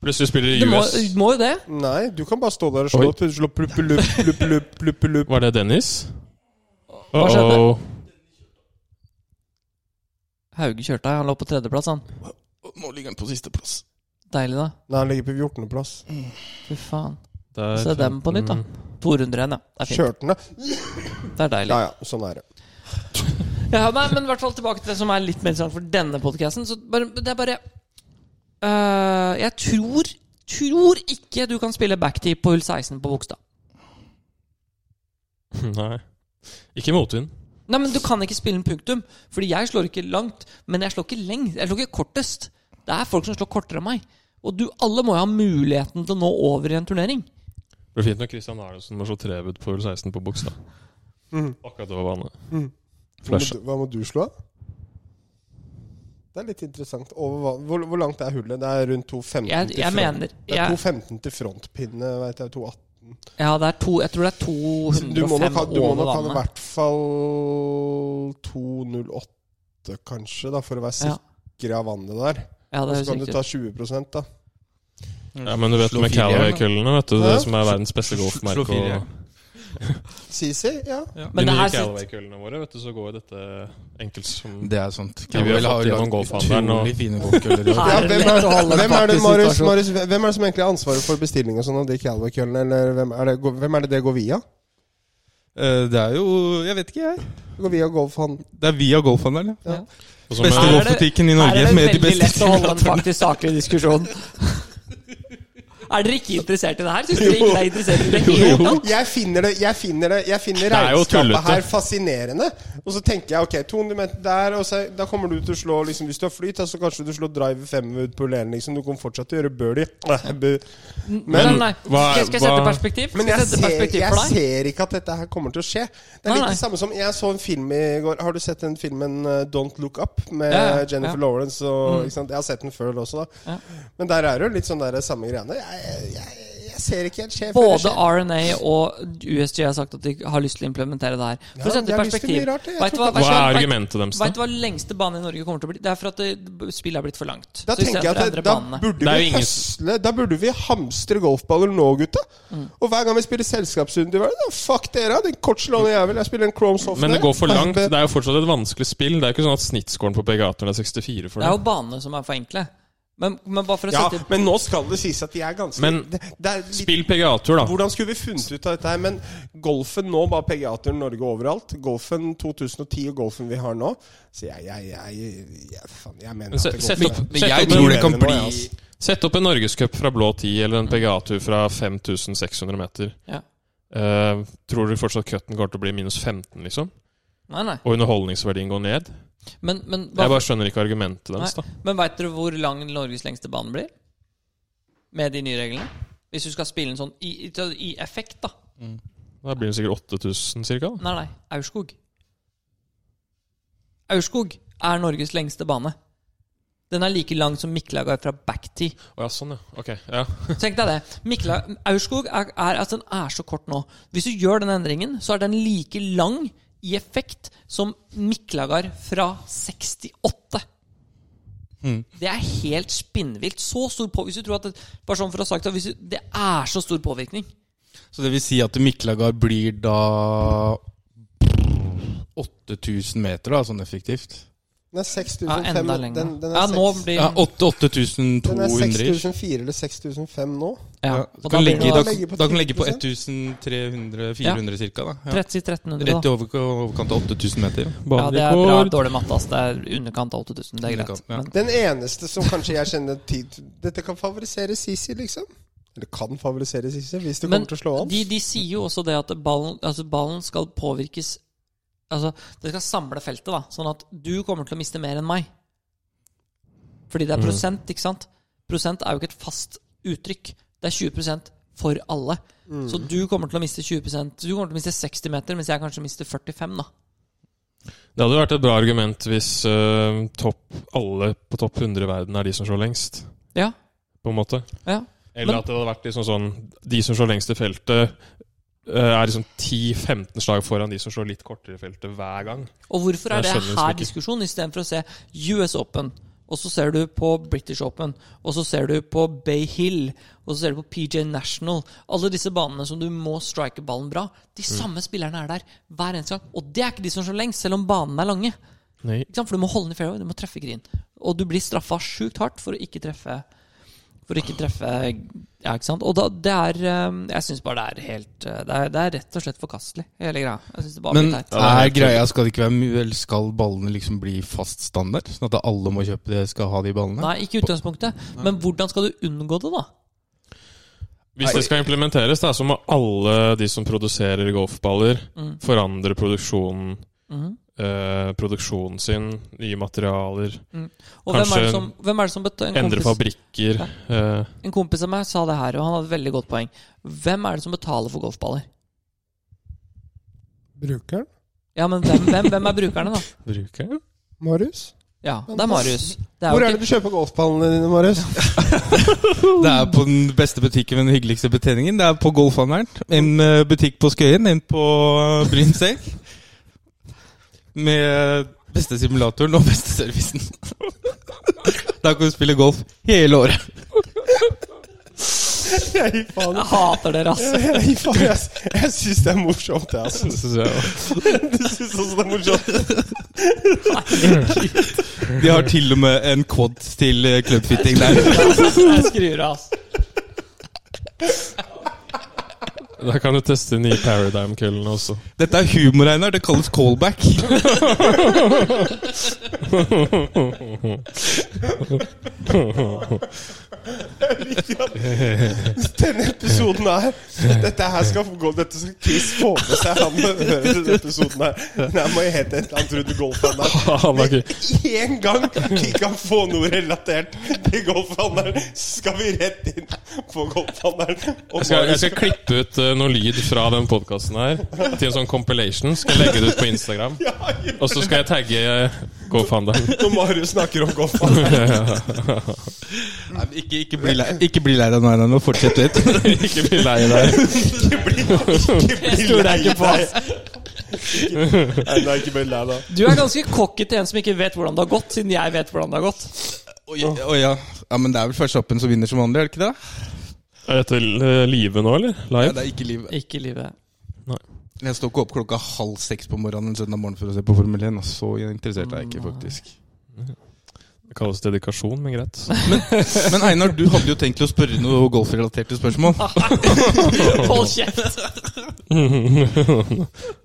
Speaker 2: Plutselig spiller
Speaker 3: Du
Speaker 2: de
Speaker 3: må,
Speaker 2: US.
Speaker 3: du må jo det.
Speaker 1: Nei, du kan bare stå der og slå, slå plupp, plupp, plupp, plupp, plupp, plupp.
Speaker 2: Var det Dennis?
Speaker 3: Hva skjedde?
Speaker 2: Uh-oh.
Speaker 3: Hauge kjørte deg. Han lå på tredjeplass, han.
Speaker 4: Nå ligger han på sisteplass.
Speaker 3: Deilig, da.
Speaker 1: Nei, han ligger på 14.-plass.
Speaker 3: Fy faen.
Speaker 2: Der-
Speaker 3: Se dem på nytt, da. 200 igjen, ja. Det er fint.
Speaker 1: Kjørte den, ja.
Speaker 3: Det er deilig.
Speaker 1: Ja ja, sånn er det.
Speaker 3: Ja, nei, men i hvert fall tilbake til det som er litt mer interessant for denne podkasten. Det er bare øh, Jeg tror Tror ikke du kan spille backtee på hull 16 på Bogstad.
Speaker 2: Nei. Ikke motvind.
Speaker 3: Nei, men Du kan ikke spille en punktum, Fordi jeg slår ikke langt. Men jeg slår ikke lengst. Jeg slår ikke kortest. Det er folk som slår kortere enn meg. Og du, alle må jo ha muligheten til å nå over i en turnering.
Speaker 2: Det blir fint når Christian Erlendsen må slå trebud på hull 16 på Bogstad.
Speaker 3: Mm.
Speaker 2: Akkurat over bane.
Speaker 1: Hva
Speaker 2: Flash.
Speaker 1: må, du, hva må du slå? Det er litt interessant. Over, hva- hvor, hvor langt er hullet? Det er rundt 2,15
Speaker 3: Jeg,
Speaker 1: til
Speaker 3: jeg
Speaker 1: front.
Speaker 3: mener
Speaker 1: Det er
Speaker 3: jeg,
Speaker 1: 2,15 til frontpinne, veit jeg. 2,18.
Speaker 3: Ja, det er to Jeg tror det er
Speaker 1: Så Du må nok
Speaker 3: 205
Speaker 1: ha, du må
Speaker 3: over
Speaker 1: nok ha det i
Speaker 3: vannet.
Speaker 1: hvert fall 2,08 kanskje, da, for å være
Speaker 3: Ja,
Speaker 1: sikker av vannet der.
Speaker 3: ja,
Speaker 1: Og så
Speaker 3: det høres
Speaker 1: kan du
Speaker 3: riktig ut.
Speaker 1: ta 20 da.
Speaker 2: Ja, men du vet
Speaker 4: Slå
Speaker 2: med
Speaker 4: fire, ja.
Speaker 2: Calaway-køllene, vet du, det
Speaker 1: Hæ?
Speaker 2: som er verdens beste
Speaker 4: Slå
Speaker 2: golfmerke.
Speaker 4: fire, ja.
Speaker 2: og-
Speaker 1: Sisi? Ja.
Speaker 2: De
Speaker 3: Men det
Speaker 2: nye
Speaker 3: er sitt-
Speaker 2: Calaway-køllene våre, vet du, så går jo dette enkelt som
Speaker 4: Det er sant.
Speaker 2: Ja, vi har fått gjennom golfhandelen og-
Speaker 4: utrolig fine golfkøller. i år.
Speaker 1: ja
Speaker 3: Er det
Speaker 1: hvem,
Speaker 3: lett
Speaker 1: er,
Speaker 3: å holde
Speaker 1: hvem, er det,
Speaker 4: faktisk
Speaker 1: Marius,
Speaker 4: situasjon?
Speaker 1: Marius, hvem er det som egentlig har ansvaret for bestilling og sånn av de Calvary-køllene? Eller hvem er, det, hvem er det det går via?
Speaker 4: Eh, Det er jo Jeg vet ikke, jeg.
Speaker 1: Det går via golfhandel.
Speaker 4: Det er via golfhandelen, ja.
Speaker 2: Og så med-
Speaker 4: Beste
Speaker 3: Er det-
Speaker 4: golfbutikken i Norge med de beste
Speaker 3: å holde en faktisk saklig diskusjon. er dere ikke interessert i det her? Syns dere ikke det er interessert i det hele tatt?
Speaker 1: Jeg finner det Jeg finner det Jeg finner
Speaker 2: Det er jo
Speaker 1: regnskapet
Speaker 2: tullete.
Speaker 1: her fascinerende. Og så tenker jeg ok, 200 meter der, og så, da kommer du til å slå liksom, Hvis du har flyt, da, så kanskje du slår drive femwood på lenen, liksom. Du kommer fortsatt til å gjøre birdie.
Speaker 3: Nei,
Speaker 1: Men
Speaker 3: nei.
Speaker 2: hva-
Speaker 3: Skal, jeg- skal jeg sette
Speaker 2: hva-
Speaker 3: perspektiv? Skal
Speaker 1: men jeg
Speaker 3: jeg sette
Speaker 1: ser,
Speaker 3: perspektiv
Speaker 1: jeg
Speaker 3: for deg?
Speaker 1: ser ikke at dette her kommer til å skje. Det er
Speaker 3: Nei,
Speaker 1: litt
Speaker 3: nei.
Speaker 1: det samme som Jeg så en film i går. Har du sett den filmen eh, Don't Look Up? Med
Speaker 3: Ja, ja,
Speaker 1: Jennifer
Speaker 3: ja. Mm.
Speaker 1: Lawrence. Og, ikke sant? Jeg har sett den før også, da.
Speaker 3: Ja.
Speaker 1: Men der er det jo litt sånn der samme greiene. Jeg, jeg, jeg ser ikke helt skje før det
Speaker 3: Både
Speaker 1: skjer.
Speaker 3: RNA og USG har sagt at de har lyst til å implementere det her. For
Speaker 1: Ja,
Speaker 3: å sette
Speaker 1: de
Speaker 3: i
Speaker 1: har lyst til
Speaker 3: perspektiv
Speaker 1: mye rart, jeg
Speaker 3: Vet du hva,
Speaker 2: Hva er
Speaker 3: vet-
Speaker 2: argumentet deres, da?
Speaker 3: Vet du hva lengste bane i Norge kommer til å bli? Det er for at det, spillet er blitt for langt.
Speaker 1: Da
Speaker 3: Så i stedet
Speaker 1: tenker jeg
Speaker 3: for
Speaker 1: at
Speaker 3: de
Speaker 1: det, da
Speaker 3: andre banene.
Speaker 1: burde
Speaker 2: Det er jo
Speaker 1: vi
Speaker 2: ingen s-
Speaker 1: høsle Da burde vi hamstre golfballer nå, gutta.
Speaker 3: Mm.
Speaker 1: Og hver gang vi spiller selskapsrunde, hva er det da? fuck dere, den kortslående jævel. Jeg spiller en Chrome Soft.
Speaker 2: Men det
Speaker 1: der.
Speaker 2: går for langt.
Speaker 1: Nei,
Speaker 2: Det er jo fortsatt et vanskelig spill. Det er ikke sånn at snittscoren på PGA-turen er 64 for
Speaker 3: Det er jo
Speaker 2: det.
Speaker 3: banene som er for enkle. Men, men bare for å
Speaker 1: Ja,
Speaker 3: sette
Speaker 1: men nå skal det sies at de er ganske
Speaker 2: Men
Speaker 1: det, det er litt
Speaker 2: Spill PGA-tur, da.
Speaker 1: Hvordan skulle vi funnet ut av dette her? Men golfen nå, bare PGA-turen Norge overalt. Golfen 2010 og golfen vi har nå. Så jeg, jeg, jeg, jeg, faen, jeg mener
Speaker 2: Men se-
Speaker 1: at
Speaker 2: sett
Speaker 1: golfen
Speaker 2: opp,
Speaker 1: er-
Speaker 4: Men
Speaker 2: sett
Speaker 4: jeg
Speaker 2: opp,
Speaker 4: tror
Speaker 2: en, altså.
Speaker 4: det kan
Speaker 1: Nå,
Speaker 4: bli
Speaker 1: ja, ass.
Speaker 2: sett opp en norgescup fra blå 10 eller en PGA-tur fra 5600 meter.
Speaker 3: Ja.
Speaker 2: Eh, tror du fortsatt cutten går til å bli minus 15, liksom?
Speaker 3: Nei, nei.
Speaker 2: Og underholdningsverdien går ned?
Speaker 3: Men, men,
Speaker 2: Jeg bare skjønner ikke argumentet deres, da.
Speaker 3: Nei. Men veit dere hvor lang Norges lengste bane blir? Med de nye reglene? Hvis du skal spille en sånn i, i, i effekt, da.
Speaker 2: Da blir det sikkert 8000, cirka. da.
Speaker 3: Nei, nei. Aurskog. Aurskog er Norges lengste bane. Den er like lang som Mikkelaga fra backtid.
Speaker 2: Å ja, sånn, ja. Ok. Ja.
Speaker 3: Tenk deg det. Mikla, Aurskog er, er, altså, den er så kort nå. Hvis du gjør den endringen, så er den like lang i effekt som Miklagar fra 68.
Speaker 4: Hmm.
Speaker 3: Det er helt spinnvilt. Så stor på, hvis du tror at det, bare sånn for å ha sagt det, hvis du, det er så stor påvirkning.
Speaker 4: Så det vil si at Miklagard blir da 8000 meter, da, sånn effektivt.
Speaker 1: Den er
Speaker 3: Ja, enda
Speaker 1: 6500.
Speaker 3: lenger.
Speaker 1: Den, den er
Speaker 3: ja, nå
Speaker 1: seks-
Speaker 3: blir
Speaker 4: Ja,
Speaker 3: ja,
Speaker 4: 8800.
Speaker 1: den er
Speaker 4: ish.
Speaker 1: 6400 eller 6500 nå.
Speaker 4: Ja,
Speaker 3: og
Speaker 4: så
Speaker 3: da
Speaker 4: kan
Speaker 3: blir
Speaker 4: legge,
Speaker 3: det
Speaker 1: da
Speaker 4: da,
Speaker 1: legger på
Speaker 4: da kan du legge på
Speaker 1: 10%.
Speaker 4: 1300-400 cirka da. Ja.
Speaker 3: 30 1300,
Speaker 4: Rett i
Speaker 3: da.
Speaker 4: overk- overkant av 8000 meter.
Speaker 3: Ja, det er bra dårlig matte. ass. Det er underkant av 8000. Det er greit.
Speaker 4: Underkant, ja.
Speaker 3: Men,
Speaker 1: Den eneste som kanskje jeg kjenner tid Dette kan favorisere Sisi, liksom. Eller kan favorisere Sisi, hvis det
Speaker 3: men
Speaker 1: kommer til å slå an.
Speaker 3: de, de sier jo også det at ballen, altså ballen skal påvirkes Altså, det skal samle feltet, da. Sånn at du kommer til å miste mer enn meg. Fordi det er prosent, ikke sant? Prosent er jo ikke et fast uttrykk. Det er 20 for alle. Så du kommer til å miste 20 Du kommer til å miste 60 meter, mens jeg kanskje mister 45, da.
Speaker 2: Det hadde vært et bra argument hvis eh, topp, alle på topp 100 i verden er de som slår lengst.
Speaker 3: Ja.
Speaker 2: På en måte.
Speaker 3: Ja.
Speaker 2: Eller
Speaker 3: Men-
Speaker 2: at det hadde vært liksom sånn De som slår lengst i feltet, eh, er liksom 10-15 slag foran de som slår litt kortere i feltet hver gang.
Speaker 3: Og hvorfor
Speaker 2: Jeg
Speaker 3: er det
Speaker 2: skjønner liksom
Speaker 3: her
Speaker 2: ikke.
Speaker 3: diskusjon istedenfor å se US Open? Og så ser du på British Open, og så ser du på Bay Hill, og så ser du på PJ National. Alle disse banene som du må strike ballen bra. De
Speaker 2: Mm.
Speaker 3: samme spillerne er der hver eneste gang. Og det er ikke de som slår lengst, selv om banene er lange.
Speaker 2: Nei.
Speaker 3: Ikke sant? For du må holde den i fairway, du må treffe green. Og du blir straffa sjukt hardt for å ikke treffe For å ikke treffe Ja, ikke sant? Og da, det er eh, Jeg syns bare det er helt eh, det er, det er rett og slett forkastelig, hele greia. Jeg synes det bare
Speaker 4: Men
Speaker 3: blir teit.
Speaker 4: er greia skal det ikke være mye, eller skal ballene liksom bli fast standard? Sånn at alle må kjøpe det, skal ha de ballene?
Speaker 3: Nei, ikke i utgangspunktet. Men hvordan skal du unngå det, da?
Speaker 2: Hvis det skal implementeres, da, så må alle de som produserer golfballer,
Speaker 3: Mm.
Speaker 2: forandre produksjonen, eh, produksjonen sin, nye materialer,
Speaker 3: Og hvem
Speaker 2: Kanskje
Speaker 3: er det som, hvem er det som bet- en,
Speaker 2: endre
Speaker 3: kompis,
Speaker 2: fabrikker. eh,
Speaker 3: en kompis av meg sa det her, og han hadde et veldig godt poeng. Hvem er det som betaler for golfballer?
Speaker 1: Brukeren?
Speaker 3: Ja, men hvem, hvem, hvem er brukerne, da?
Speaker 2: bruker.
Speaker 1: Marius?
Speaker 3: Ja, det er Marius. Det
Speaker 1: Hvor
Speaker 3: jo
Speaker 1: er det du kjøper golfballene dine, Marius?
Speaker 4: Det er på den beste butikken med den hyggeligste betjeningen. Det er på Golfhandelen. En eh, butikk på Skøyen, en på eh, Brynseng. Med beste simulatoren og beste servicen. Da kan du spille golf hele året.
Speaker 3: ikke- Jeg hater dere, ass.
Speaker 1: Nei, faen, jeg jeg syns det er morsomt, jeg. Altså. Du syns også det er morsomt?
Speaker 4: De har til og med en quad til eh, clubfitting der.
Speaker 3: Jeg skrur av, ass.
Speaker 2: Da kan du teste nye Paradigm-køllene også.
Speaker 4: Dette er humor, Einar. Det kalles callback.
Speaker 1: Denne episoden her Dette her skal gå Dette skal Chris få med seg. Han må høre denne episoden her. Nei, jeg må jeg hete et eller annet Rune Golfhandler.
Speaker 2: Han er ikke-
Speaker 1: Én gang vi kan få noe relatert til golfhandleren, så skal vi rett inn på golfhandleren. Og
Speaker 2: Jeg skal, jeg
Speaker 1: Marius-
Speaker 2: skal klippe ut eh, noe lyd fra den podkasten her til en sånn compilation. Skal jeg legge det ut på Instagram.
Speaker 1: Ja, gjør
Speaker 2: Og så skal jeg tagge eh, GoFunderen.
Speaker 1: det når Marius snakker om golfhandleren.
Speaker 4: Nei, men ikke, ikke, bli lei, ikke bli lei deg nå, Einar. Nå fortsett litt.
Speaker 2: Ikke bli lei deg.
Speaker 1: Ikke bli, ikke bli
Speaker 3: Jeg stoler ikke på, ass.
Speaker 1: Ikke- Nei, nei, ikke bli lei deg.
Speaker 3: Du er ganske cocky til en som ikke vet hvordan det har gått, siden jeg vet hvordan det har gått.
Speaker 4: Å ja, å ja. ja, men det er vel første oppen som vinner som vanlig, er det ikke det?
Speaker 2: Er dette eh, live nå, eller?
Speaker 4: Ja,
Speaker 2: Live?
Speaker 4: det er ikke livet.
Speaker 3: Ikke i livet.
Speaker 4: Jeg står ikke opp klokka halv seks på morgenen en søndag morgen for å se på Formel 1. ass. Så interessert er jeg ikke, faktisk.
Speaker 2: Det kalles dedikasjon, men greit.
Speaker 4: Men Einar, du hadde jo tenkt å spørre noe golfrelaterte spørsmål.
Speaker 3: Hold kjeft!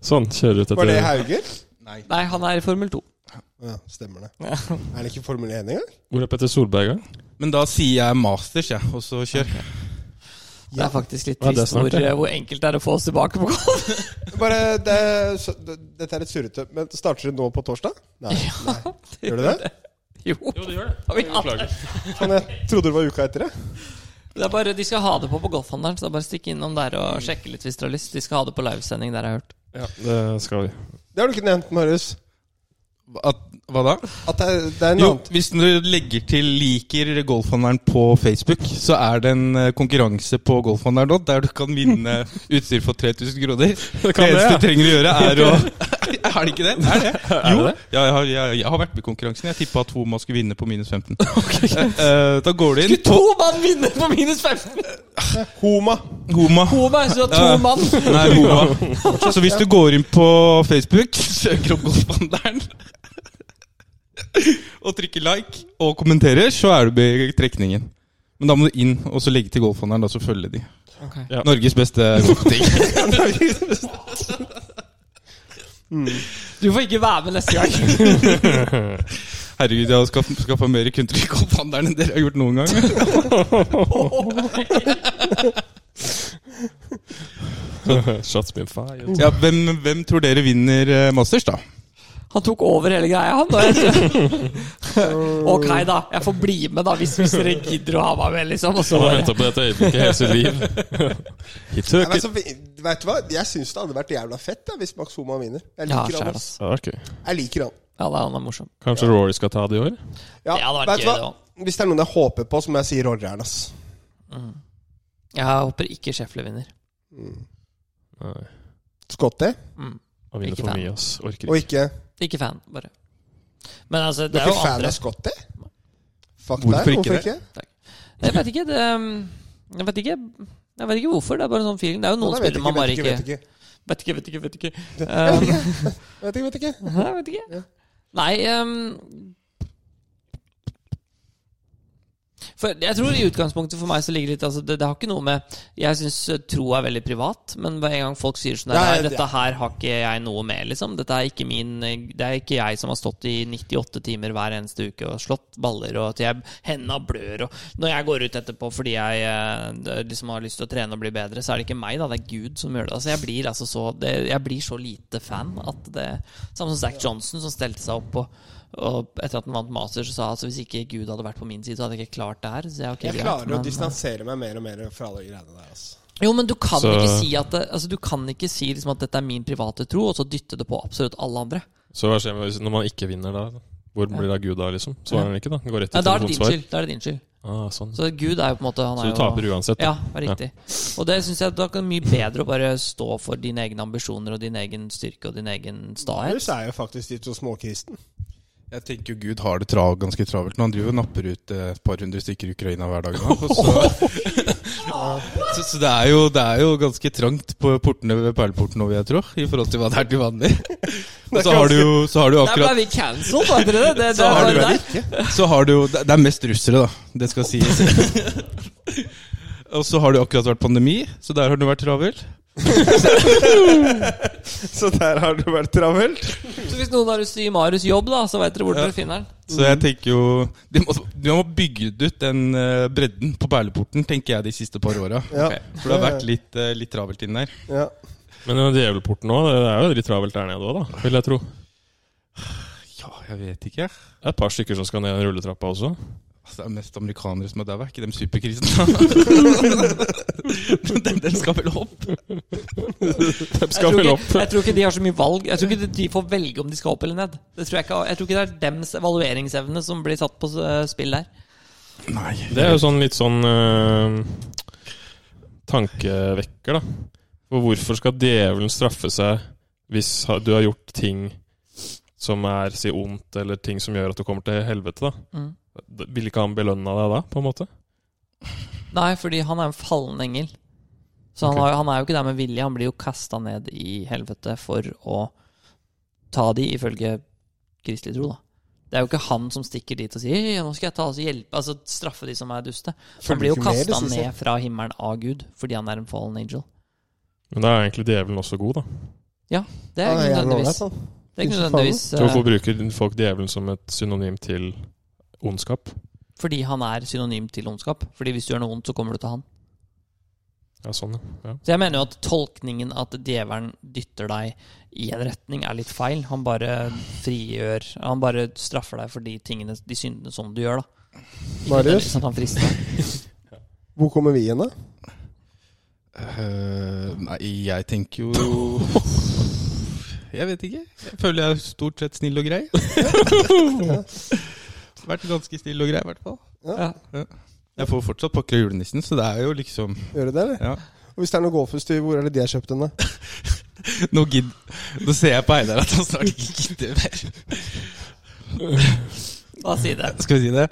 Speaker 2: Sånn, kjører ut
Speaker 1: Var det
Speaker 2: etter
Speaker 1: Hauger?
Speaker 3: Nei, han er i Formel 2.
Speaker 1: Ja, stemmer det. Er det ikke Formel 1 engang?
Speaker 2: Hvor er Petter Solberg, da?
Speaker 4: Men da sier jeg masters, jeg, og så kjør.
Speaker 3: Det er faktisk litt
Speaker 2: Ja, det er
Speaker 3: trist
Speaker 2: snart,
Speaker 3: hvor, eh,
Speaker 2: ja.
Speaker 3: hvor enkelt det er å få oss tilbake på golf.
Speaker 1: Bare, det, så, det, Dette er et surrete, men starter det nå på torsdag? Nei. nei. Gjør det det?
Speaker 3: Jo,
Speaker 2: det gjør det.
Speaker 3: har vi hatt det.
Speaker 1: Faen, jeg trodde det var uka etter det.
Speaker 3: Det er bare, De skal ha det på på golfhandelen, så det er bare stikk innom der og sjekke litt hvis dere har lyst. De skal ha det på livesending, der jeg har hørt.
Speaker 2: Det skal vi.
Speaker 1: Det har du ikke nevnt, Marius.
Speaker 4: At, hva da?
Speaker 1: At det, er- det er en
Speaker 4: Jo,
Speaker 1: annen
Speaker 4: hvis du legger til 'liker golfhandleren' på Facebook, så er det en eh, konkurranse på golfhandleren nå, der du kan vinne utstyr for 3000 kroner. Det,
Speaker 2: kan det,
Speaker 4: eneste
Speaker 2: ja.
Speaker 4: du trenger å gjøre, er å Er det ikke det? Det Er det?
Speaker 2: det
Speaker 4: Jo.
Speaker 2: det?
Speaker 4: Ja, jeg, har, jeg, jeg har vært med i konkurransen. Jeg tippa at Homa skulle vinne på minus 15. Eh, da går det inn
Speaker 3: To mann vinner på minus 15!
Speaker 1: Homa.
Speaker 4: Homa.
Speaker 3: To mann, så to
Speaker 4: Ja.
Speaker 3: mann!
Speaker 4: Nei, Homa. Så hvis du går inn på Facebook, søker opp golfhandleren og trykker like og kommenterer, så er du med i trekningen. Men da må du inn og så legge til golfhandleren, da så følger de.
Speaker 3: Ok.
Speaker 2: Ja.
Speaker 4: Norges beste golfting.
Speaker 3: Du får ikke være med neste gang.
Speaker 4: Herregud, jeg har skaff- skaffa mer kunder i golfhandleren enn dere har gjort noen gang.
Speaker 2: Shots been fired.
Speaker 4: Ja, hvem, hvem tror dere vinner eh, Masters, da?
Speaker 3: Han tok over hele greia, han. Da. Ok, da. Jeg får bli med, da, hvis, hvis dere gidder å ha meg med, liksom. Og så
Speaker 2: Han har
Speaker 3: bare
Speaker 2: venta på dette øyeblikket hele sitt liv.
Speaker 1: Nei,
Speaker 2: He took
Speaker 1: men
Speaker 2: it.
Speaker 1: altså, vi- vet du hva? Jeg syns det hadde vært jævla fett da, hvis Max Homan vinner. Jeg
Speaker 3: Ja,
Speaker 1: liker
Speaker 3: skjær,
Speaker 1: han.
Speaker 3: ass.
Speaker 1: ass.
Speaker 2: Ja, ok.
Speaker 3: altså.
Speaker 1: Jeg liker han.
Speaker 3: Ja, da, han er morsom.
Speaker 2: Kanskje Rory skal ta det i år?
Speaker 1: Ja,
Speaker 3: Det hadde vært
Speaker 1: vet du
Speaker 3: gøy,
Speaker 1: hva? Hvis det er noen jeg håper på, så må jeg si Rorjern, ass.
Speaker 3: Jeg håper ikke Scheffler vinner.
Speaker 2: Nei.
Speaker 1: Mm. Scotty.
Speaker 3: Mm.
Speaker 2: Han vinner
Speaker 3: Ikke
Speaker 2: for
Speaker 3: fan.
Speaker 2: mye, ass. Orker
Speaker 1: Og
Speaker 2: ikke.
Speaker 1: ikke
Speaker 3: Ikke fan, bare. Men altså,
Speaker 1: Du
Speaker 3: det
Speaker 1: er
Speaker 3: er jo
Speaker 1: ikke fan
Speaker 3: andre
Speaker 1: av Scotty? Fuck deg,
Speaker 4: Hvorfor ikke
Speaker 1: hvorfor
Speaker 4: det?
Speaker 1: ikke?
Speaker 3: Jeg vet ikke. Det, um, jeg vet ikke. Jeg vet ikke hvorfor. Det er bare en sånn feeling. Det er jo noen
Speaker 1: Nei, vet
Speaker 3: spillere man bare
Speaker 1: vet
Speaker 3: ikke
Speaker 1: vet ikke.
Speaker 3: Vet ikke, vet ikke, vet ikke.
Speaker 1: Vet
Speaker 3: Um,
Speaker 1: ikke, vet ikke, vet ikke.
Speaker 3: jeg vet ikke. Nei um, for Jeg tror i utgangspunktet for meg så ligger det litt altså det, det har ikke noe med Jeg syns tro er veldig privat, men hver en gang folk sier sånn
Speaker 1: Ja,
Speaker 3: her
Speaker 1: ja, det-
Speaker 3: Dette her har ikke jeg noe med, liksom. Dette er ikke min Det er ikke jeg som har stått i 98 timer hver eneste uke og slått baller, og at jeg henda blør, og Når jeg går ut etterpå fordi jeg eh, liksom har lyst til å trene og bli bedre, så er det ikke meg, da. Det er Gud som gjør det. Altså, jeg blir altså så det, Jeg blir så lite fan at det Samme som Zack Johnson, som stelte seg opp og og etter at han vant Masters, så sa han altså, hvis ikke Gud hadde vært på min side, så hadde jeg ikke klart det her. Så jeg, okay,
Speaker 1: Jeg
Speaker 3: greit,
Speaker 1: klarer å
Speaker 3: men-
Speaker 1: distansere meg mer og mer fra alle greiene der. ass.
Speaker 3: jo, men du kan
Speaker 2: Så-
Speaker 3: ikke si at det, altså, Du kan ikke si liksom at dette er min private tro, og så dytte det på absolutt alle andre.
Speaker 2: Så hva skjer med- hvis- når man ikke vinner da? Hvor blir det av Gud da, liksom? Svarer han ikke, da? Går rett
Speaker 3: Nei,
Speaker 2: til
Speaker 3: da er det din
Speaker 2: telefonsvar.
Speaker 3: skyld. Da er det din skyld.
Speaker 2: Ah, sånn.
Speaker 3: Så Gud er jo på en måte han
Speaker 2: Så
Speaker 3: er
Speaker 2: du taper uansett?
Speaker 3: Ja,
Speaker 2: da?
Speaker 3: riktig. Og det syns jeg da kan det mye bedre å bare stå for dine egne ambisjoner og din egen styrke og din egen stahet.
Speaker 1: Marius er jo faktisk litt så småkristen.
Speaker 4: Jeg tenker jo Gud har det tra ganske travelt nå. Han driver og napper ut eh, et par hundre stykker i Ukraina hver dag. nå, og Så, så, så det, er jo, det er jo ganske trangt på portene ved perleporten nå, vil jeg tro. I forhold til hva det er til vanlig. Og så har du jo så har du jo
Speaker 3: Der ble
Speaker 4: akkurat
Speaker 3: vi cancelled, da, dere. Det, det, det,
Speaker 4: så har
Speaker 3: var
Speaker 4: du,
Speaker 3: der.
Speaker 4: så har du, jo- det det er mest russere, da. Det skal sies. Og så har det jo akkurat vært pandemi, så der har du vært travel.
Speaker 1: Så der har det vært travelt.
Speaker 3: Så hvis noen har lyst til å gi Marius jobb, da, så veit dere hvor dere finner den.
Speaker 4: Så
Speaker 1: Mhm.
Speaker 4: jeg tenker jo Du må, de må bygge ut den eh, bredden på perleporten, tenker jeg, de siste par åra.
Speaker 1: Ja.
Speaker 4: For det har vært litt, eh, litt travelt inn der.
Speaker 1: Ja.
Speaker 2: Men den djevelporten òg, det er jo litt travelt der nede òg, da. Vil jeg tro.
Speaker 4: Ja, jeg vet ikke.
Speaker 2: Det er et par stykker som skal ned den rulletrappa også.
Speaker 4: Altså, det er mest amerikanere som er daua, ikke dem superkristne. den, den skal vel opp?
Speaker 2: De
Speaker 3: Jeg
Speaker 2: skal
Speaker 3: tror,
Speaker 2: vel
Speaker 3: ikke,
Speaker 2: opp.
Speaker 3: jeg tror ikke de har så mye valg. Jeg tror ikke de får velge om de skal opp eller ned. Det tror jeg, ikke, jeg tror ikke det er dems evalueringsevne som blir satt på eh, spill der.
Speaker 4: Nei.
Speaker 2: Det er jo sånn litt sånn øh, tankevekker, da. For hvorfor skal djevelen straffe seg hvis ha- du har gjort ting som er si ondt, eller ting som gjør at du kommer til helvete, da?
Speaker 3: Mm.
Speaker 2: Da- Vil ikke han belønne deg da, på en måte?
Speaker 3: Nei, fordi han er en fallen engel. Så han,
Speaker 2: Ok.
Speaker 3: har, han er jo ikke der med vilje. Han blir jo kasta ned i helvete for å ta de, ifølge kristelig tro, da. Det er jo ikke han som stikker dit og sier «Hei, 'nå skal jeg ta oss og hjelpe', altså straffe de som er duste. Han
Speaker 1: Følger
Speaker 3: blir jo
Speaker 1: ikke med, det
Speaker 3: kasta
Speaker 1: synes jeg.
Speaker 3: ned fra himmelen av Gud fordi han er en fallen angel.
Speaker 2: Men da er egentlig djevelen også god, da.
Speaker 3: Det er ikke nødvendigvis,
Speaker 1: sånn.
Speaker 3: det er ikke
Speaker 1: Ikke så
Speaker 3: nødvendigvis
Speaker 2: Så hvorfor
Speaker 3: eh,
Speaker 2: bruker folk djevelen som et synonym til ondskap?
Speaker 3: eh, fordi han er synonym til ondskap. Fordi hvis du gjør noe ondt, så kommer du til han.
Speaker 2: Ja, sånn, ja. ja.
Speaker 3: Så jeg mener jo at tolkningen at djevelen dytter deg i en retning, er litt feil. Han bare frigjør Han bare straffer deg for de tingene, de syndene som du gjør, da. Ikke
Speaker 1: Marius?
Speaker 3: nødvendigvis at han frister deg.
Speaker 1: Hvor kommer vi igjen, da?
Speaker 4: Eh, nei, jeg tenker jo Jeg vet ikke. Jeg føler jeg er stort sett snill og grei. vært ganske snill og grei, i hvert fall.
Speaker 3: Ja.
Speaker 4: Jeg får fortsatt pakker av julenissen, så det er jo liksom
Speaker 1: Gjør du det, eller?
Speaker 4: ja.
Speaker 1: Og hvis det er noe golfutstyr, hvor er det de har kjøpt den, da?
Speaker 4: Nå gidd Nå ser jeg på Einar at han snart ikke gidder mer.
Speaker 3: Da sier det.
Speaker 4: Skal vi si det?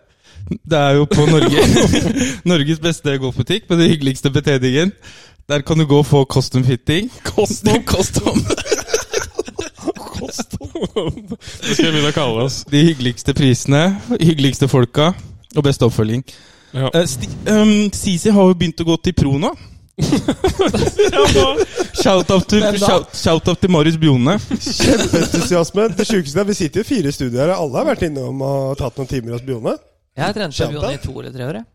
Speaker 4: Det er jo på Norge Norges beste golfbutikk med den hyggeligste betjeningen. Der kan du gå og få custom fitting. Custom, custom.
Speaker 2: Det skal jeg begynne å kalle oss.
Speaker 4: De hyggeligste prisene, hyggeligste folka og beste oppfølging.
Speaker 2: Ja.
Speaker 4: Eh, Sti um, Sisi har jo begynt å gå til pro nå. Shout-out til,
Speaker 3: Hvem da?
Speaker 4: shout, shout til Marius Bjone.
Speaker 1: Kjempeentusiasme. Det sjukeste er vi sitter jo i fire studioer, og alle har vært innom og tatt noen timer hos Bione.
Speaker 3: Jeg har trent
Speaker 1: Kjente.
Speaker 3: Bjørn i to eller tre år, jeg.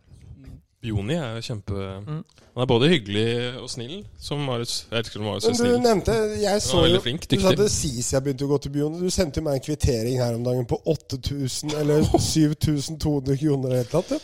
Speaker 2: Joni er jo kjempe
Speaker 3: Mm.
Speaker 2: Han er både hyggelig og snill, som Marius. Jeg elsker når Marius er
Speaker 1: Men du
Speaker 2: snill.
Speaker 1: nevnte jeg så
Speaker 2: veldig
Speaker 1: jo,
Speaker 2: flink,
Speaker 1: Du sa
Speaker 2: dyktig.
Speaker 1: det sies jeg begynte å gå til byen. Du sendte jo meg en kvittering her om dagen på 8000 eller 7200 kroner. eller et eller annet, ja.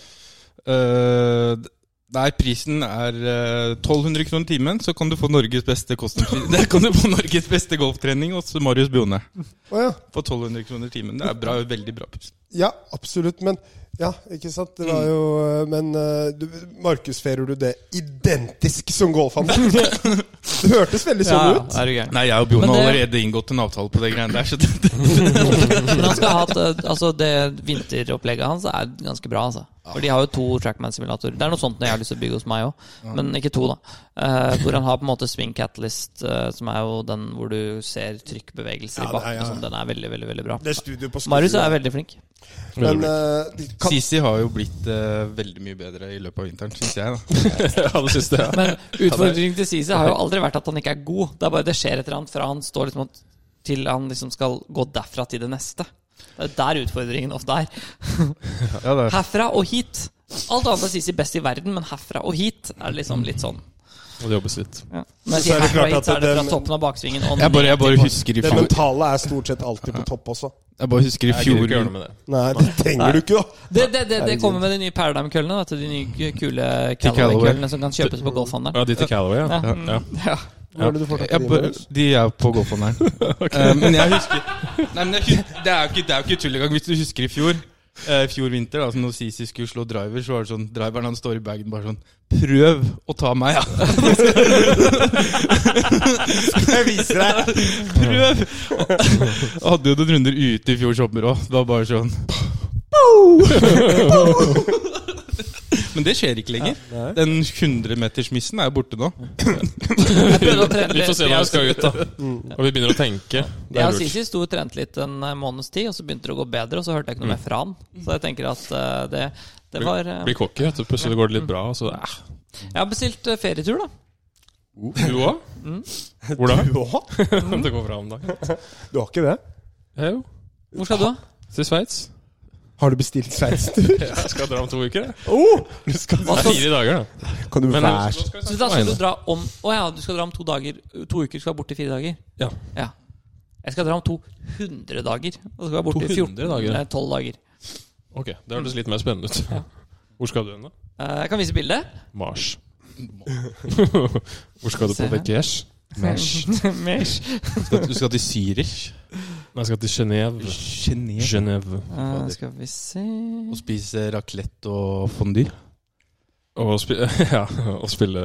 Speaker 4: Eh, d- Nei, prisen er eh, 1200 kroner timen, så kan du få Norges beste kostnadspris. Der kan du få Norges beste golftrening hos Marius Bjone.
Speaker 1: Å, ja.
Speaker 4: For 1200 kroner timen. Det er bra, veldig bra pris.
Speaker 1: ja, absolutt. Men ja, ikke sant? Det
Speaker 2: Mm.
Speaker 1: var jo eh, Men eh, du, markedsfører du det identisk som golfhandel? det hørtes veldig sånn
Speaker 3: Ja,
Speaker 1: ut.
Speaker 3: er du gæren.
Speaker 4: Nei, jeg og Bjone
Speaker 3: Men
Speaker 4: har
Speaker 3: det-
Speaker 4: allerede inngått en avtale på det greiene der, så det, det,
Speaker 3: Men han skal ha hatt eh, Altså, det vinteropplegget hans er ganske bra, altså. For de har jo to Trackman-simulatorer. Det er noe sånt jeg har lyst til å bygge hos meg òg, men ikke to, da. Eh, hvor han har på en måte Swing Catalyst, eh, som er jo den hvor du ser trykkbevegelser
Speaker 1: Ja, det
Speaker 3: i
Speaker 1: er-
Speaker 3: bakken.
Speaker 1: ja.
Speaker 3: og sånn. Den er veldig, veldig veldig bra.
Speaker 1: Det er studio på
Speaker 3: Marius
Speaker 1: Skogstuen.
Speaker 3: er veldig flink.
Speaker 1: Men eh, de kan,
Speaker 4: Sisi har jo blitt eh, veldig mye bedre i løpet av vinteren, syns jeg. da
Speaker 2: ja, det siste, ja.
Speaker 3: Men utfordringen til Sisi har jo aldri vært at han ikke er god. Det er bare det skjer et eller annet fra han står liksom og- til han liksom skal gå derfra til det neste. Det er der utfordringen ofte er.
Speaker 4: Ja, det er.
Speaker 3: Herfra og hit. Alt annet er Sisi best i verden, men herfra og hit er liksom litt sånn.
Speaker 2: Og det jobbes litt.
Speaker 3: Når jeg
Speaker 1: Så er
Speaker 3: sier
Speaker 1: det
Speaker 3: herfra og
Speaker 1: klart
Speaker 3: hit, så
Speaker 1: at
Speaker 3: er det fra
Speaker 1: den-
Speaker 3: toppen av baksvingen og
Speaker 4: Jeg, bare, jeg, bare
Speaker 3: ned til-
Speaker 4: husker i
Speaker 1: det
Speaker 4: fjor,
Speaker 1: mentale er stort sett alltid på topp også.
Speaker 4: jeg bare husker i
Speaker 2: Jeg gidder
Speaker 4: fjor
Speaker 2: ikke gjøre noe med det.
Speaker 1: Nei, det trenger du ikke, da.
Speaker 3: det, det, det, det kommer med de nye Paradigm-køllene. vet du, De nye kule
Speaker 4: Til Callaway.
Speaker 3: Callaway-køllene som kan kjøpes på golfhandelen.
Speaker 2: Ja, de til Calaway, ja.
Speaker 3: Ja.
Speaker 2: ja.
Speaker 3: Ja.
Speaker 1: Hvor er det du får tak i
Speaker 4: Jeg
Speaker 1: de,
Speaker 4: bare,
Speaker 1: Marius?
Speaker 4: de er på golfhandelen. Eh, men jeg husker Nei, men jeg, hus- Det er jo ikke, det er jo ikke tull engang. Hvis du husker i fjor eh, fjor vinter, da, altså når Sisi skulle slå driver, så var det sånn Driveren han står i bagen bare sånn Prøv å ta meg, ja!
Speaker 1: Jeg viser deg.
Speaker 4: Prøv! Og hadde jo noen runder ute i fjor sommer òg. Det var bare sånn Men det skjer ikke lenger. Den 100-metersmissen er jo borte nå.
Speaker 3: Jeg prøvde å trene
Speaker 2: Vi får se når vi skal ut, da. Og vi begynner å tenke. Det
Speaker 3: Jeg og
Speaker 2: er lurt.
Speaker 3: Sisi sto og trente litt en eh, måneds tid, og så begynte det å gå bedre, og så hørte jeg ikke noe mer fra han. Så jeg tenker at eh, det, det var eh,
Speaker 2: Blir cocky, vet du. Plutselig går det litt bra, og så eh.
Speaker 3: Jeg har bestilt eh, ferietur, da.
Speaker 2: Du òg? Hvor da?
Speaker 1: Du òg?
Speaker 2: Det går bra om dagen.
Speaker 1: Du har ikke det?
Speaker 2: Ja, jo.
Speaker 3: Hvor skal du? da?
Speaker 2: Til Sveits.
Speaker 1: Har du bestilt sveitstur?
Speaker 2: Jeg skal dra om to uker. jeg.
Speaker 1: Oh, du skal,
Speaker 3: Hva skal,
Speaker 2: Fire dager, da.
Speaker 1: kan du
Speaker 2: Men
Speaker 1: være
Speaker 2: så skal jeg
Speaker 3: så da skal
Speaker 2: snakke
Speaker 3: du
Speaker 2: med henne.
Speaker 3: dra om Å ja, du skal dra om to dager To uker, skal være borte i fire dager?
Speaker 2: Ja.
Speaker 3: Jeg skal dra om 200 dager. Og så skal jeg borte i 14
Speaker 2: 200 dager?
Speaker 3: Nei, 12 dager.
Speaker 2: Ok, det hørtes litt mer spennende ut. Hvor skal du hen, da?
Speaker 3: Eh, Jeg kan vise bildet.
Speaker 2: Mars. Hvor skal du
Speaker 3: Se
Speaker 2: på
Speaker 3: her.
Speaker 2: Vekesh?
Speaker 3: Mesh. Mesh.
Speaker 4: Du skal til Zürich.
Speaker 2: Nei, jeg skal til Genéve.
Speaker 4: Genève.
Speaker 2: Genéve.
Speaker 3: Eh, skal vi se
Speaker 4: Og spise raclette og fondue.
Speaker 2: Og, spi ja, og spille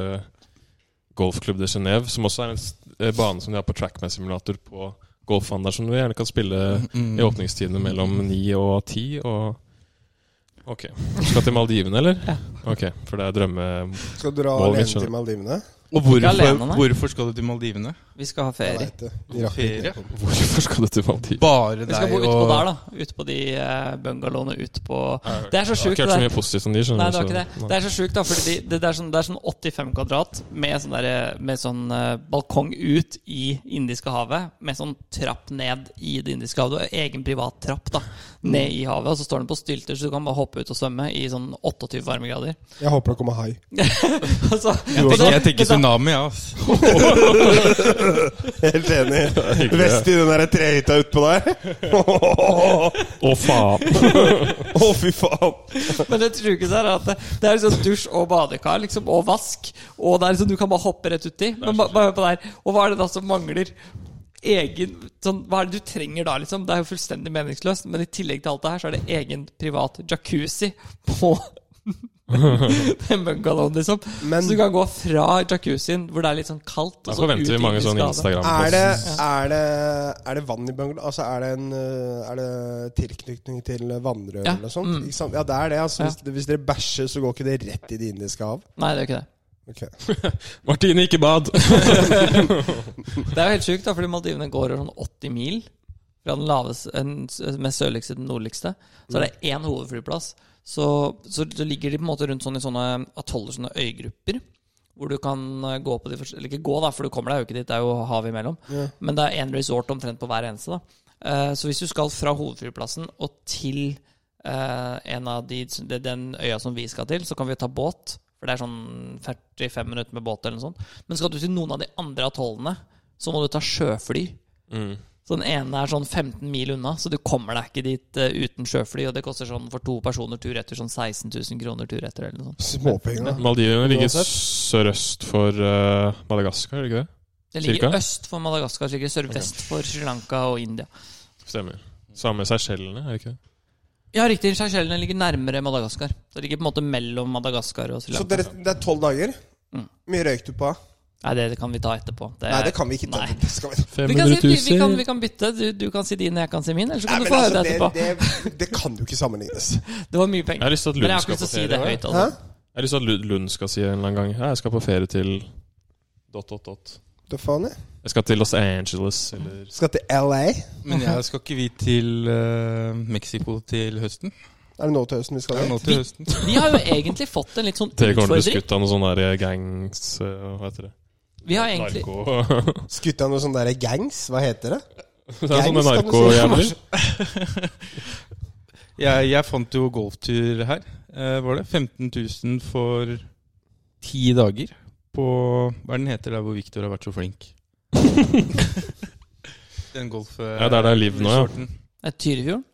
Speaker 2: golfklubb de Genéve, som også er en s- eh, bane som de har på Trackman-simulator på golfhandler, som du gjerne kan spille
Speaker 1: Mm,
Speaker 2: i åpningstidene mellom ni og ti. Og Ok. Du skal til Maldivene, eller? Ok, for det er drømme...
Speaker 1: Skal du dra
Speaker 2: Må vi
Speaker 1: alene
Speaker 2: skjønne.
Speaker 1: til Maldivene?
Speaker 4: Og hvorfor,
Speaker 3: alene, nei.
Speaker 4: hvorfor skal du til Maldivene?
Speaker 3: Vi skal ha
Speaker 1: Jeg
Speaker 3: ferie.
Speaker 1: vet det. De rakk ikke
Speaker 4: Ferie?
Speaker 1: det.
Speaker 2: Hvorfor skal du til Maldivene?
Speaker 4: Bare
Speaker 3: Vi skal
Speaker 4: deg
Speaker 3: bo
Speaker 4: og
Speaker 3: utpå der, da. Utpå de eh, bungalowene ut på Det er så
Speaker 2: Jeg har
Speaker 3: sjukt.
Speaker 2: ikke hørt så
Speaker 3: det der.
Speaker 2: mye positivt om de, skjønner
Speaker 3: Nei,
Speaker 2: du,
Speaker 3: det var ikke
Speaker 2: så-
Speaker 3: det.
Speaker 2: Nei.
Speaker 3: Det er så sjukt, da, fordi de, det, det, er sånn, det er sånn 85 kvadrat med sånn, der, med sånn eh, balkong ut i Indiske havet, med sånn trapp ned i Det indiske havet. Du har egen privat trapp da, ned i havet, og så står den på stylter, så du kan bare hoppe ut og svømme i sånn 28 varmegrader.
Speaker 1: Jeg håper det kommer hai.
Speaker 3: Og så-
Speaker 4: Jeg
Speaker 3: og
Speaker 4: tenker,
Speaker 3: da-
Speaker 4: jeg tenker
Speaker 3: men da-
Speaker 4: tsunami, ja. ass.
Speaker 1: Helt enig. Vest i den der trehytta utpå der. Å,
Speaker 2: Å, faen!
Speaker 1: fy faen.
Speaker 3: Men det sjukeste er at det, det er liksom dusj og badekar liksom, og vask. Og det er liksom, du kan bare hoppe rett uti. Men ba- bare hør på det her. Og hva er det da som mangler? Egen, sånn, hva er det du trenger da, liksom? Det er jo fullstendig meningsløst. Men i tillegg til alt det her, så er det egen privat jacuzzi på den bungalowen, liksom.
Speaker 1: Men-
Speaker 3: så du kan gå fra jacuzzien, hvor det er litt sånn kaldt, og
Speaker 2: Da
Speaker 3: så
Speaker 2: forventer
Speaker 3: ut
Speaker 2: vi
Speaker 3: i
Speaker 2: mange
Speaker 3: Indisk
Speaker 2: sånne
Speaker 3: havet.
Speaker 1: Er
Speaker 2: Instagram-posts.
Speaker 1: det, er, det, er det vann i bungalow? Altså, er det, en, eh, er det tilknytning til vannrør
Speaker 3: Ja,
Speaker 1: eller sånt?
Speaker 3: mm.
Speaker 1: Ikke sant? Ja, det er det. Altså,
Speaker 3: Ja.
Speaker 1: hvis, hvis dere bæsjer, så går ikke det rett i Det indiske hav.
Speaker 3: Nei, det er jo ikke det.
Speaker 1: Ok.
Speaker 2: Martine, ikke bad!
Speaker 3: Det er jo helt sjukt, da, fordi Maldivene går over sånn 80 mil fra den laveste, en- mest sørligste til den nordligste. Så er det én hovedflyplass. Så, så, så ligger de på en måte rundt sånn i sånne atoller, sånne øygrupper. Hvor du kan eh, gå på de forskjellige Eller ikke gå, da, for du kommer deg jo ikke dit. Det er jo hav imellom. Men det er én resort omtrent på hver eneste. da. Eh, Så hvis du skal fra hovedflyplassen og til eh, en av de, den øya som vi skal til, så kan vi ta båt. For det er sånn 45 minutter med båt eller noe sånt. Men skal du til noen av de andre atollene, så må du ta sjøfly.
Speaker 2: Mm.
Speaker 3: Så den ene er sånn 15 mil unna, så du kommer deg ikke dit eh, uten sjøfly. Og det koster sånn for to personer tur-retur sånn 16 000 kroner tur-retur eller noe sånt.
Speaker 1: Småpenger.
Speaker 2: Maldivene ligger
Speaker 1: Uansett.
Speaker 2: sørøst for eh, Madagaskar, gjør det ikke det?
Speaker 3: Det ligger
Speaker 2: Cirka?
Speaker 3: øst for Madagaskar, så ligger det sørvest for Sri Lanka og India.
Speaker 2: Stemmer. Samme med Seychellene, er det ikke det?
Speaker 3: Ja, riktig. Seychellene ligger nærmere Madagaskar. Så det ligger på en måte mellom Madagaskar og Sri
Speaker 1: Så
Speaker 3: Lanka.
Speaker 1: dere, det er tolv dager?
Speaker 3: Mm.
Speaker 1: Mye røyk du på?
Speaker 3: Nei, det kan vi ta etterpå. Det
Speaker 1: Nei,
Speaker 3: er-
Speaker 1: det kan vi ikke ta.
Speaker 3: Nei.
Speaker 1: Det skal vi.
Speaker 3: Vi kan, si, vi, vi, kan, vi kan bytte. Du, du kan si din, og jeg kan si min. Eller så
Speaker 1: Nei,
Speaker 3: kan du
Speaker 1: men
Speaker 3: få
Speaker 1: altså,
Speaker 3: høre det
Speaker 1: det,
Speaker 3: etterpå.
Speaker 1: det, det kan jo ikke sammenlignes.
Speaker 3: Det var mye
Speaker 2: Jeg har
Speaker 3: penger.
Speaker 2: lyst til at
Speaker 3: Men jeg
Speaker 2: Lund
Speaker 3: har ikke
Speaker 2: skal
Speaker 3: lyst
Speaker 2: på
Speaker 3: til å si
Speaker 2: ferie.
Speaker 3: det
Speaker 2: hva?
Speaker 3: høyt.
Speaker 1: Hæ?
Speaker 3: Altså.
Speaker 2: Jeg har lyst til at Lu- Lund skal si en eller annen gang Ja, jeg skal på ferie til dot, dot, dot.
Speaker 1: Du faen, jeg.
Speaker 2: Jeg skal til Los Angeles eller
Speaker 1: Skal til LA.
Speaker 4: Men jeg skal ikke vi til eh, Mexico til høsten?
Speaker 1: Er det nå til høsten vi skal
Speaker 4: Det er
Speaker 1: dit?
Speaker 4: nå til høsten.
Speaker 3: Vi har jo egentlig fått en litt sånn
Speaker 2: Dere kommer til å bli
Speaker 3: utfordring.
Speaker 2: skutt av noen sånne der gangs eh, Hva heter det?
Speaker 3: Vi har egentlig
Speaker 2: Narko
Speaker 1: Skutt av noen sånne der gangs? Hva heter det?
Speaker 2: Det er sånne
Speaker 1: Gangs, kan du si.
Speaker 2: narkojævler.
Speaker 4: Jeg, jeg fant jo golftur her. Eh, var det 15 000 for ti dager? På Hva er den heter der hvor Victor har vært så flink? den golf... eh,
Speaker 2: Ja, det er der liv nå, ja.
Speaker 4: resorten.
Speaker 3: Det er Tyrifjorden.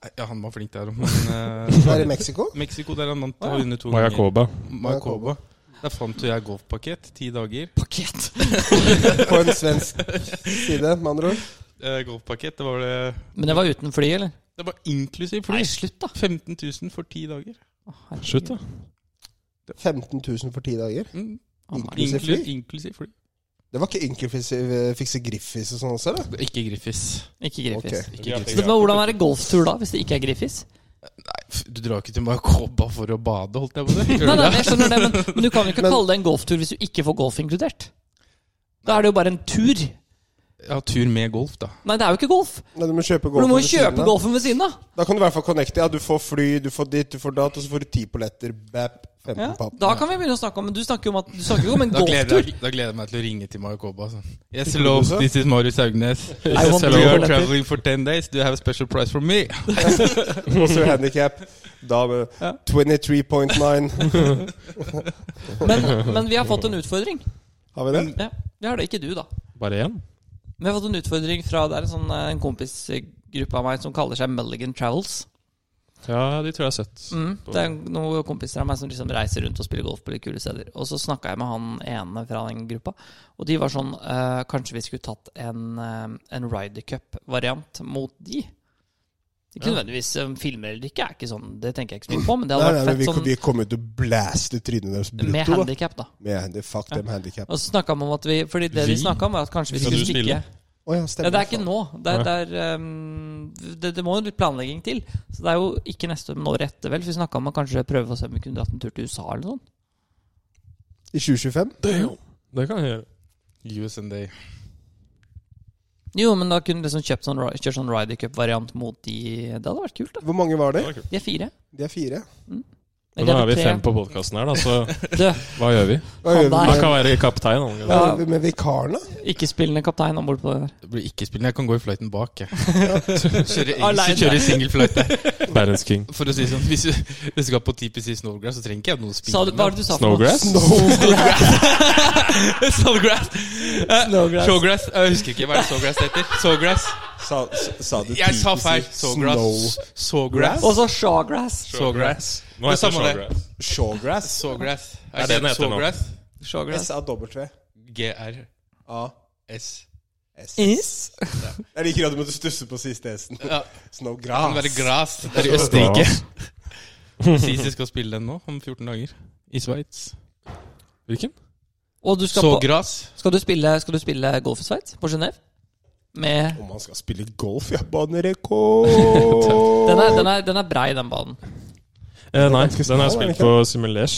Speaker 4: Nei, Ja, han var flink der òg, men eh,
Speaker 1: Det er i Mexico?
Speaker 4: Mexico, der han vant
Speaker 2: Ah,
Speaker 4: og har vunnet to ganger.
Speaker 2: Mayakoba.
Speaker 4: Mayakoba. Der fant jo jeg golfpakett. Ti dager.
Speaker 3: Pakket.
Speaker 1: På en svensk side, med andre ord.
Speaker 4: Eh, golfpakett, det var det
Speaker 3: Men det var uten fly, eller?
Speaker 4: Det var inklusiv
Speaker 3: Nei,
Speaker 4: fly.
Speaker 3: slutt, da.
Speaker 4: 15 000 for ti dager.
Speaker 3: Herregud.
Speaker 2: Slutt, da.
Speaker 1: 15 000 for ti dager.
Speaker 4: Mm.
Speaker 3: Å, nei.
Speaker 1: Inklusiv fly?
Speaker 4: Inklu- Inklusiv fly.
Speaker 1: Det var ikke inklusiv eh, fikse Griffis og sånn også, eller?
Speaker 4: Ikke Griffis.
Speaker 3: Ikke Griffis.
Speaker 1: Ok.
Speaker 4: Ikke Griffis.
Speaker 3: Så det var hvordan være golftur da, hvis det ikke er Griffis?
Speaker 4: F- Du drar ikke til Mayakoba for å bade, holdt jeg på å si.
Speaker 3: Nei, nei, jeg skjønner det, men, men du kan jo ikke kalle det en golftur hvis du ikke får golf inkludert. Da er det jo bare en tur.
Speaker 4: Ja, tur med golf, da.
Speaker 3: Nei, det er jo ikke golf.
Speaker 1: Nei, du må kjøpe
Speaker 3: For du
Speaker 1: golfen ved
Speaker 3: må jo
Speaker 1: siden
Speaker 3: kjøpe
Speaker 1: av.
Speaker 3: golfen ved siden av.
Speaker 1: Da kan du i hvert fall connecte. Ja, du får fly, du får ditt, du får datt, og så får du ti polletter. Bap, 15
Speaker 3: Ja,
Speaker 1: papp.
Speaker 3: da kan vi begynne å snakke om Men du snakker jo om, at, du snakker jo om en
Speaker 4: Da gleder,
Speaker 3: golftur.
Speaker 4: jeg, da gleder jeg meg til å ringe til Mayakoba. altså. Yes, hello, this is Marius Haugnes.
Speaker 3: I want
Speaker 4: We are
Speaker 3: golf.
Speaker 4: traveling for 10 days. Do you have a special price for me?
Speaker 1: Og så handicap Da med 23.9.
Speaker 3: Men, men vi har fått en utfordring.
Speaker 1: Har vi det?
Speaker 3: Ja, vi har det ikke du, da.
Speaker 2: Bare én?
Speaker 3: Vi har fått en utfordring fra det er en, sånn, eh, en kompisgruppe av meg som kaller seg Mulligan Travels.
Speaker 2: Ja, de tror jeg har sett.
Speaker 3: Mm. Det er noen kompiser av meg som liksom reiser rundt og spiller golf på litt kule steder. Og så snakka jeg med han ene fra den gruppa, og de var sånn eh, Kanskje vi skulle tatt en, eh, en Ryder Cup-variant mot de? Ikke
Speaker 2: Ja.
Speaker 3: nødvendigvis um, filmer eller ikke, er ikke sånn, det tenker jeg ikke så mye på, men det
Speaker 1: Nei,
Speaker 3: hadde
Speaker 1: nei, men
Speaker 3: vært
Speaker 1: vi,
Speaker 3: fett sånn
Speaker 1: vi kommer jo til å blaste trynet deres
Speaker 3: med
Speaker 1: brutto. da.
Speaker 3: handikap, da.
Speaker 1: Med handi- fuck dem handicap.
Speaker 3: Og så snakket vi om at vi Fordi det vi,
Speaker 2: Vi?
Speaker 3: snakket om, var at kanskje vi
Speaker 2: Skal du
Speaker 3: skulle stikke
Speaker 2: spille?
Speaker 1: Å ja,
Speaker 3: Ja,
Speaker 1: stemmer.
Speaker 3: det er ikke nå. Det, er, det, er, um, det, det må jo litt planlegging til. Så det er jo ikke neste år, men året etter, vel. For vi snakka om å kanskje prøve å se om vi kunne dratt en tur til USA eller noe sånt.
Speaker 1: I 2025?
Speaker 2: Det kan jeg gjøre.
Speaker 4: US and day.
Speaker 3: Jo, men da kunne du liksom kjøpt sånn, ri- kjørt sånn Ryder Cup-variant mot de Det hadde vært kult, da.
Speaker 1: Hvor mange var det?
Speaker 3: De er fire.
Speaker 1: De er fire.
Speaker 2: Men nå er vi fem på podkasten her, da, så
Speaker 3: Du,
Speaker 2: hva gjør vi?
Speaker 1: Hva
Speaker 3: Han
Speaker 1: gjør vi
Speaker 3: der.
Speaker 2: Han
Speaker 1: med,
Speaker 2: kan være kaptein. Han,
Speaker 1: hva
Speaker 2: eller?
Speaker 1: gjør vi med vikaren, da?
Speaker 3: ikke-spillende kaptein om bord på det der.
Speaker 4: Det blir ikke spillende. Jeg kan gå i flighten bak, jeg. Kjøre
Speaker 3: Alene.
Speaker 4: engelsk, kjøre single flight. der.
Speaker 2: Verdens king.
Speaker 4: For å si det sånn, hvis du- hvis du skal på TPC Snowgrass, så trenger ikke jeg noen
Speaker 3: Sa du,
Speaker 4: spillende.
Speaker 3: hva var det du sa for noe?
Speaker 2: Snowgrass?
Speaker 4: Snowgrass! Eh,
Speaker 3: Snowgrass.
Speaker 4: Showgrass. Jeg husker ikke hva er det Sawgrass heter. Sawgrass.
Speaker 1: Sa, sa- sa du
Speaker 4: Jeg sa
Speaker 1: typisk
Speaker 4: feil. Sawgrass.
Speaker 1: Snow
Speaker 4: Sawgrass.
Speaker 3: Og så Shawgrass.
Speaker 4: Sawgrass.
Speaker 2: Nå heter det
Speaker 4: samme det.
Speaker 2: Shawgrass.
Speaker 1: Shawgrass?
Speaker 4: Sawgrass.
Speaker 2: Er det den heter nå?
Speaker 4: Sawgrass.
Speaker 3: Shawgrass.
Speaker 1: S-A-W-A-S.
Speaker 4: GRS.
Speaker 3: Is.
Speaker 1: Jeg liker at du måtte stusse på siste S-en.
Speaker 4: Ja, det kan
Speaker 1: Snowgrass.
Speaker 4: være gras. Ah. Det er i Østerrike. Sisi skal spille den nå, om 14 dager. I Sveits.
Speaker 2: Hvilken?
Speaker 3: Og du skal, på,
Speaker 4: Sågras.
Speaker 3: skal, du spille, skal du spille golf i Sveits? På Genève? Med
Speaker 1: Om han skal spille golf, ja. Banerekord!
Speaker 3: Den er, den er, den er brei, den banen.
Speaker 2: Eh, nei,
Speaker 1: ganske
Speaker 2: den
Speaker 1: smal, er
Speaker 2: har jeg
Speaker 1: det
Speaker 2: spilt
Speaker 1: ikke?
Speaker 2: på Simulers.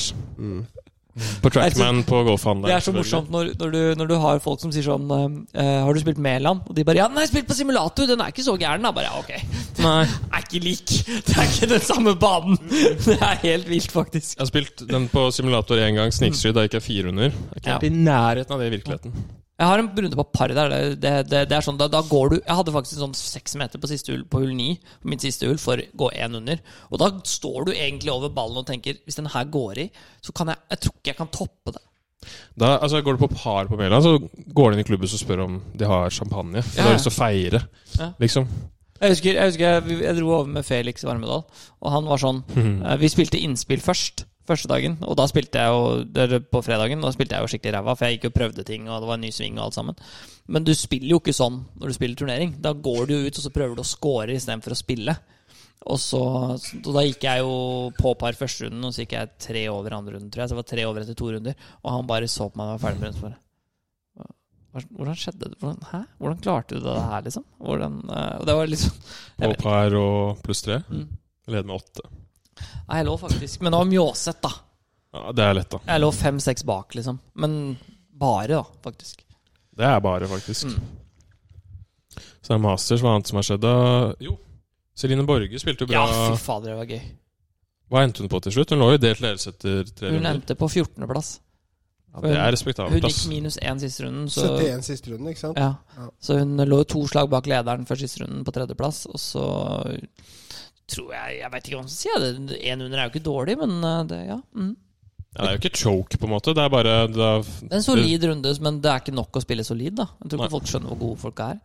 Speaker 2: På Trackman på golfhandelen.
Speaker 3: Det er så morsomt når, når, du, når du har folk som sier sånn eh, Har du spilt Mæland? Og de bare Ja, den har jeg spilt på simulator! Den er ikke så gæren, da. Bare ja, ok.
Speaker 2: Nei,
Speaker 3: Den er ikke lik! Det er ikke den samme banen! Det er helt vilt, faktisk.
Speaker 2: jeg har spilt den på simulator én gang, snikskydd, da gikk jeg fire under. Jeg er ikke
Speaker 3: Ja.
Speaker 2: helt i nærheten av det i virkeligheten.
Speaker 3: Jeg har en runde på par der. Det, det, det, det er sånn, da, da går du Jeg hadde faktisk sånn seks meter på siste hull, på hull ni, på mitt siste hull, for å gå én under. Og da står du egentlig over ballen og tenker hvis den her går i, så kan jeg Jeg tror ikke jeg kan toppe det.
Speaker 2: Da, altså, går du på par på Mæland, så går du inn i klubben og spør om de har champagne. For
Speaker 3: Ja.
Speaker 2: du har lyst til å feire,
Speaker 3: Ja.
Speaker 2: liksom.
Speaker 3: Jeg husker jeg, husker jeg, jeg dro over med Felix Varmedal, og han var sånn eh, Vi spilte innspill først. Første dagen, og da spilte jeg jo der på fredagen, da spilte jeg jo skikkelig ræva, for jeg gikk og prøvde ting, og det var en ny sving og alt sammen. Men du spiller jo ikke sånn når du spiller turnering. Da går du jo ut, og så prøver du å score istedenfor å spille. Og så, så da gikk jeg jo på par første runden, og så gikk jeg tre over andre runden, tror jeg. Så jeg var tre over etter to runder, og han bare så på meg da jeg var ferdig med runden. så bare, "Hva- Hvordan skjedde det? Hvordan, hæ? Hvordan klarte du det her, liksom? Hvordan, eh, og det var liksom Jeg
Speaker 2: På
Speaker 3: vet
Speaker 2: par og pluss tre.
Speaker 3: Mm.
Speaker 2: Leder med åtte.
Speaker 3: Nei, jeg lå faktisk Men det var Mjåseth, da.
Speaker 2: Ja, det er lett, da.
Speaker 3: Jeg lå fem-seks bak, liksom. Men bare, da, faktisk.
Speaker 2: Det er bare, faktisk.
Speaker 3: Mm.
Speaker 2: Så det er Masters, hva annet som har skjedd da? Jo, Celine Borge spilte jo bra.
Speaker 3: Ja, fy fader, det var gøy.
Speaker 2: Hva endte hun på til slutt? Hun lå jo delt ledelse etter tre
Speaker 3: Hun
Speaker 2: runder.
Speaker 3: endte på 14.-plass.
Speaker 2: Ja, det er
Speaker 3: Hun
Speaker 2: respektabelt,
Speaker 3: gikk
Speaker 2: ass.
Speaker 3: minus én siste runden, så
Speaker 1: 71 siste runden, ikke sant?
Speaker 3: ja.
Speaker 1: Ja.
Speaker 3: Så hun lå to slag bak lederen før siste runden, på tredjeplass, og så tror jeg Jeg veit ikke hva man skal si. det- Én under er jo ikke dårlig, men eh, det, ja. Mm.
Speaker 2: Ja, det er jo ikke choke, på en måte. Det er bare det er,
Speaker 3: Det er en solid runde, men det er ikke nok å spille solid. da Jeg tror ikke
Speaker 2: Nei.
Speaker 3: folk skjønner hvor gode folk er.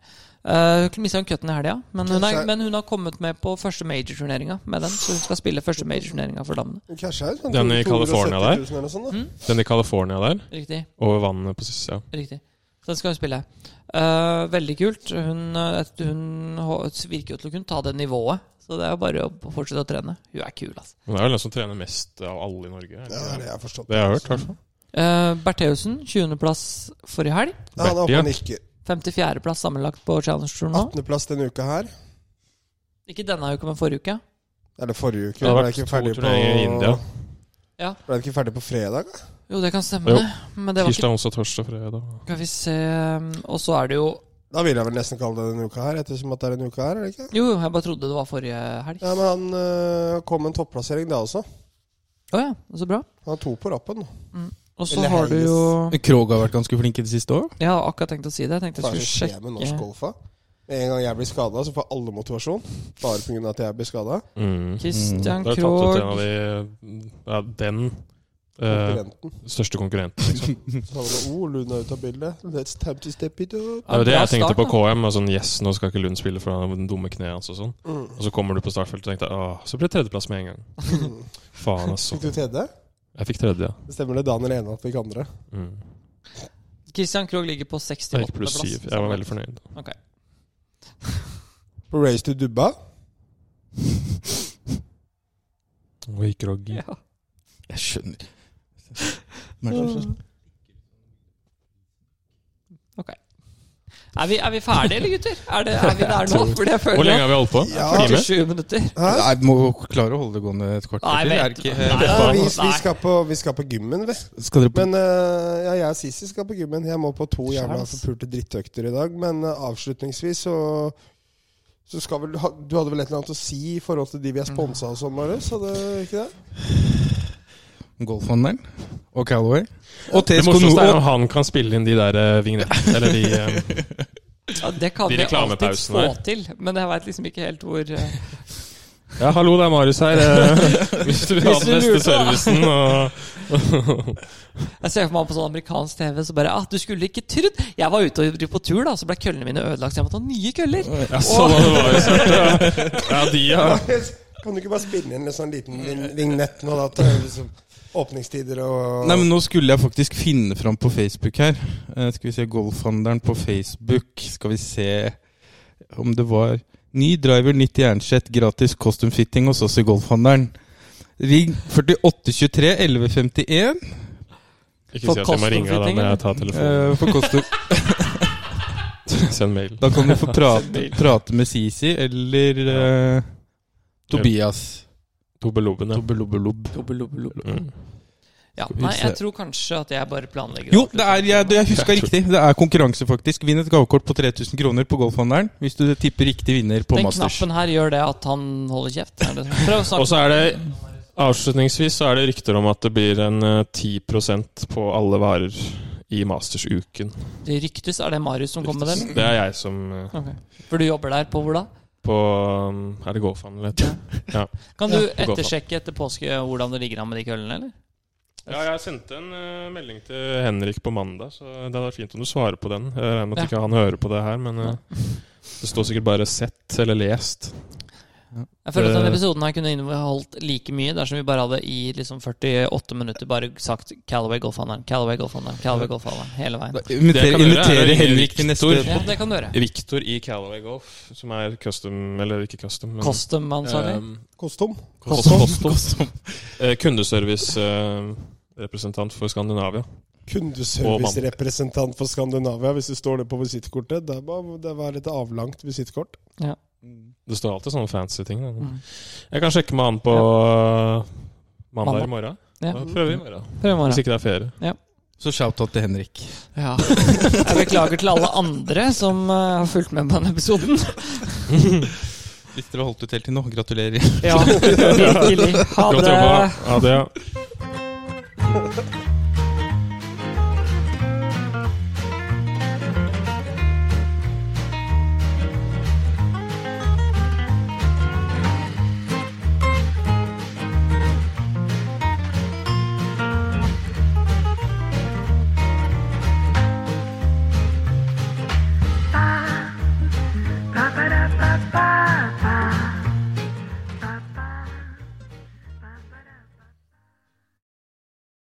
Speaker 3: Uh, hun mista cutten i helga, men, hun er-
Speaker 1: Så-
Speaker 3: men hun har kommet med på første major-turneringa med den. Så hun skal spille første major-turneringa for damene.
Speaker 1: Kanskje er det sånn
Speaker 2: Den i
Speaker 1: 270 000
Speaker 2: California der?
Speaker 1: eller noe sånt, da.
Speaker 2: Den i California der,
Speaker 3: Riktig.
Speaker 2: over vannet på siste ja.
Speaker 3: riktig Så den skal hun spille. Eh, veldig kult. Hun, eh, hun ho- virker jo til å kunne ta det nivået, så det er jo bare å fortsette å trene. Hun er kul, altså.
Speaker 2: Men det er vel den som trener mest av alle i Norge. er det
Speaker 1: Ja, det
Speaker 2: ikke
Speaker 1: har
Speaker 2: det?
Speaker 1: jeg har forstått.
Speaker 2: Det har jeg hørt, i hvert fall.
Speaker 3: Uh, Bertheussen, 20.plass forrige helg.
Speaker 1: Ja, han er oppe
Speaker 2: Bertia.
Speaker 1: og nikker.
Speaker 3: 54.plass sammenlagt på Challenge Tour nå.
Speaker 1: 18.-plass denne uka her.
Speaker 3: Ikke denne uka, men forrige uke.
Speaker 1: Eller forrige uke.
Speaker 2: Det har
Speaker 1: ble
Speaker 2: vært
Speaker 1: ikke
Speaker 2: to
Speaker 1: ferdig på
Speaker 2: turneringer i India.
Speaker 3: Ja.
Speaker 1: Ble ikke ferdig på fredag? da?
Speaker 3: Jo, det kan stemme,
Speaker 2: Jo.
Speaker 3: det. Men det var ikke
Speaker 2: Tirsdag, onsdag, torsdag, fredag.
Speaker 3: Skal vi se um, Og så er det jo
Speaker 1: Da vil jeg vel nesten kalle det denne uka her, ettersom at det er en uke her, er det ikke?
Speaker 3: Jo, jeg bare trodde det var forrige helg.
Speaker 1: Ja, men han øh, kom med en topplassering da også.
Speaker 3: Å ja, så bra.
Speaker 1: Han har to på rappen.
Speaker 3: Og så
Speaker 1: Eller
Speaker 3: har du
Speaker 1: Hayes.
Speaker 3: jo
Speaker 4: Krog har vært ganske flink i det siste òg.
Speaker 3: Jeg har akkurat tenkt å si det. Jeg tenkte
Speaker 1: Hva er
Speaker 3: jeg
Speaker 1: det som skjer med
Speaker 3: skulle
Speaker 1: norsk
Speaker 3: sjekke
Speaker 1: golfa? Med en gang jeg blir skada, så får alle motivasjon. Bare pga. at jeg blir skada.
Speaker 2: Mm.
Speaker 3: Christian
Speaker 2: Da har jeg tatt ut en
Speaker 3: Krogh
Speaker 2: av de ja, Den eh,
Speaker 1: Konkurrenten.
Speaker 2: største konkurrenten. Liksom.
Speaker 1: Så sa han da, oh, Lund er ute av bildet. Let's time to step it up.
Speaker 2: Det er jo det
Speaker 3: Bra
Speaker 2: jeg tenkte
Speaker 3: start,
Speaker 2: på
Speaker 3: da.
Speaker 2: KM. og Sånn, yes, nå skal ikke Lund spille for han har den dumme kneet hans og sånn.
Speaker 1: Mm.
Speaker 2: Og så kommer du på startfeltet og tenkte åh, så ble det tredjeplass med en gang. Faen, altså.
Speaker 1: Fikk du tredje?
Speaker 2: Jeg fikk tredje, ja.
Speaker 1: Det Stemmer det Daniel ene at fikk andre?
Speaker 2: Mm.
Speaker 3: Christian Krogh ligger på
Speaker 2: Jeg
Speaker 3: 68.
Speaker 2: gikk pluss syv. Jeg var veldig fornøyd.
Speaker 1: På Race to Dubba?
Speaker 2: Og gikk Rogg.
Speaker 3: Ja.
Speaker 4: Jeg skjønner. Men det er så-
Speaker 3: Er, vi, er vi ferdige, eller, gutter? Er, det, er vi der nå? For jeg
Speaker 2: Hvor
Speaker 3: føler
Speaker 2: lenge har vi holdt på?
Speaker 1: Ja.
Speaker 2: En time?
Speaker 3: 47 minutter.
Speaker 1: Hæ?
Speaker 4: Nei, vi må klare å holde det gående et kvarter
Speaker 3: Nei,
Speaker 4: til. Er
Speaker 3: vent.
Speaker 4: det ikke-
Speaker 3: Nei,
Speaker 1: Ja, vi, vi,
Speaker 3: Nei.
Speaker 1: skal på, vi skal på gymmen, vi.
Speaker 4: Skal dere på
Speaker 1: Men øh, ja, jeg og Sissy skal på gymmen. Jeg må på to jævla
Speaker 3: Skjerns.
Speaker 1: forpulte drittøkter i dag. Men øh, avslutningsvis så så skal vel, ha- Du hadde vel et eller annet å si i forhold til de vi er sponsa av sånn, Marius? Hadde ikke det?
Speaker 4: Golfhandelen og Calaway? Og
Speaker 2: Det
Speaker 4: TSK
Speaker 2: morsomste er
Speaker 4: Nord.
Speaker 2: om han kan spille inn de der eh, vignettene, eller de eh,
Speaker 3: Ja, det kan
Speaker 2: De
Speaker 3: vi alltid
Speaker 2: reklamepausene
Speaker 3: få
Speaker 2: her.
Speaker 3: til, men jeg veit liksom ikke helt hvor eh,
Speaker 2: Ja, hallo, det er Marius her. eh, Hvis du vil ha
Speaker 3: Hvis
Speaker 2: den beste
Speaker 3: du lurte, da.
Speaker 2: servicen og
Speaker 3: Jeg ser for meg på sånn amerikansk TV så bare ah, Du skulle ikke trodd Jeg var ute og driv på tur, da, så ble køllene mine ødelagt, så jeg måtte ha nye køller.
Speaker 2: Ja, sånn hadde Marius vært. ja. Ja, de, ja.
Speaker 1: Kan du ikke bare spille inn en sånn liten vin- vignett nå, da? Til liksom åpningstider og
Speaker 4: Nei, men nå skulle jeg faktisk finne fram på Facebook her. Eh, skal vi se Golfhandelen på Facebook. Skal vi se om det var Ny driver, nytt jernsett, gratis costume fitting hos oss i Golfhandelen. Ring 4823 1151
Speaker 2: Ikke
Speaker 3: For
Speaker 2: si at jeg må ringe deg da når jeg tar telefonen.
Speaker 4: eh, for costume.
Speaker 2: Send mail.
Speaker 4: Da kan du få prate, prate med Sisi eller eh, Tobias.
Speaker 2: Tobelobben, ja.
Speaker 4: Tobbelobelob.
Speaker 2: Mm.
Speaker 3: Ja,
Speaker 4: Skal vi
Speaker 3: nei, jeg
Speaker 4: se.
Speaker 3: tror kanskje at jeg bare planlegger
Speaker 4: Jo,
Speaker 3: å
Speaker 4: det er, jeg, jeg huska riktig. Det er konkurranse, faktisk. Vinn et gavekort på 3000 kroner på Golfhandelen hvis du tipper riktig vinner på
Speaker 3: Den
Speaker 4: Masters.
Speaker 3: knappen her gjør det at han holder kjeft. Er det sånn? Prøv å
Speaker 2: Og
Speaker 3: snakke.
Speaker 2: så er det Avslutningsvis så er det rykter om at det blir en eh, 10 på alle varer i Masters-uken.
Speaker 3: Det ryktes. Er det Marius som kommer med det? eller?
Speaker 2: Det er jeg som eh,
Speaker 3: Ok. For du jobber der på hvor da?
Speaker 2: På um, Er det GoFan eller heter det? Ja.
Speaker 3: Kan du
Speaker 2: på Golfbanen.
Speaker 3: ettersjekke etter påske hvordan det ligger an med de køllene, eller?
Speaker 2: ja, jeg sendte en eh, melding til Henrik på mandag, så det hadde vært fint om du svarer på den. Jeg regner med at
Speaker 3: Ja.
Speaker 2: ikke han hører på det her, men eh, det står sikkert bare 'sett' eller 'lest'.
Speaker 3: Jeg føler at denne
Speaker 2: Eh.
Speaker 3: episoden her kunne inneholdt like mye dersom vi bare hadde i liksom 48 minutter bare sagt Callaway Golfhandleren, Callaway Golfhandleren, Callaway Golfhandleren hele veien.
Speaker 2: Det
Speaker 4: Inviterer
Speaker 2: kan vi gjøre, er
Speaker 4: inviterer
Speaker 2: det
Speaker 4: Henrik
Speaker 2: Victor?
Speaker 4: til neste
Speaker 3: Ja, det kan du gjøre.
Speaker 2: Victor i Calaway Golf, som er custom Eller ikke custom,
Speaker 4: Eh,
Speaker 2: men
Speaker 3: Custom-ansvarlig.
Speaker 2: um,
Speaker 1: Kostom.
Speaker 2: Custom. Eh, Kundeservice-representant for Skandinavia.
Speaker 1: Kundeservicerepresentant for Skandinavia, hvis det står det på visittkortet. Det var, det var et avlangt visittkort.
Speaker 2: Det står alltid sånne fancy ting. Da.
Speaker 3: Mm.
Speaker 2: Jeg kan sjekke med han på eh, mandag
Speaker 3: Mandag.
Speaker 2: i morgen.
Speaker 3: Ja.
Speaker 2: Da prøver vi i morgen.
Speaker 3: Prøv i morgen.
Speaker 2: Hvis ikke det er ferie.
Speaker 4: Så shout-out til Henrik.
Speaker 3: Ja. Jeg beklager til alle andre som eh, har fulgt med på denne episoden.
Speaker 4: Hvis dere har holdt ut helt til nå, gratulerer.
Speaker 3: Ja, virkelig. Ha
Speaker 2: Godt
Speaker 3: det.
Speaker 2: jobba. Ha det. ja.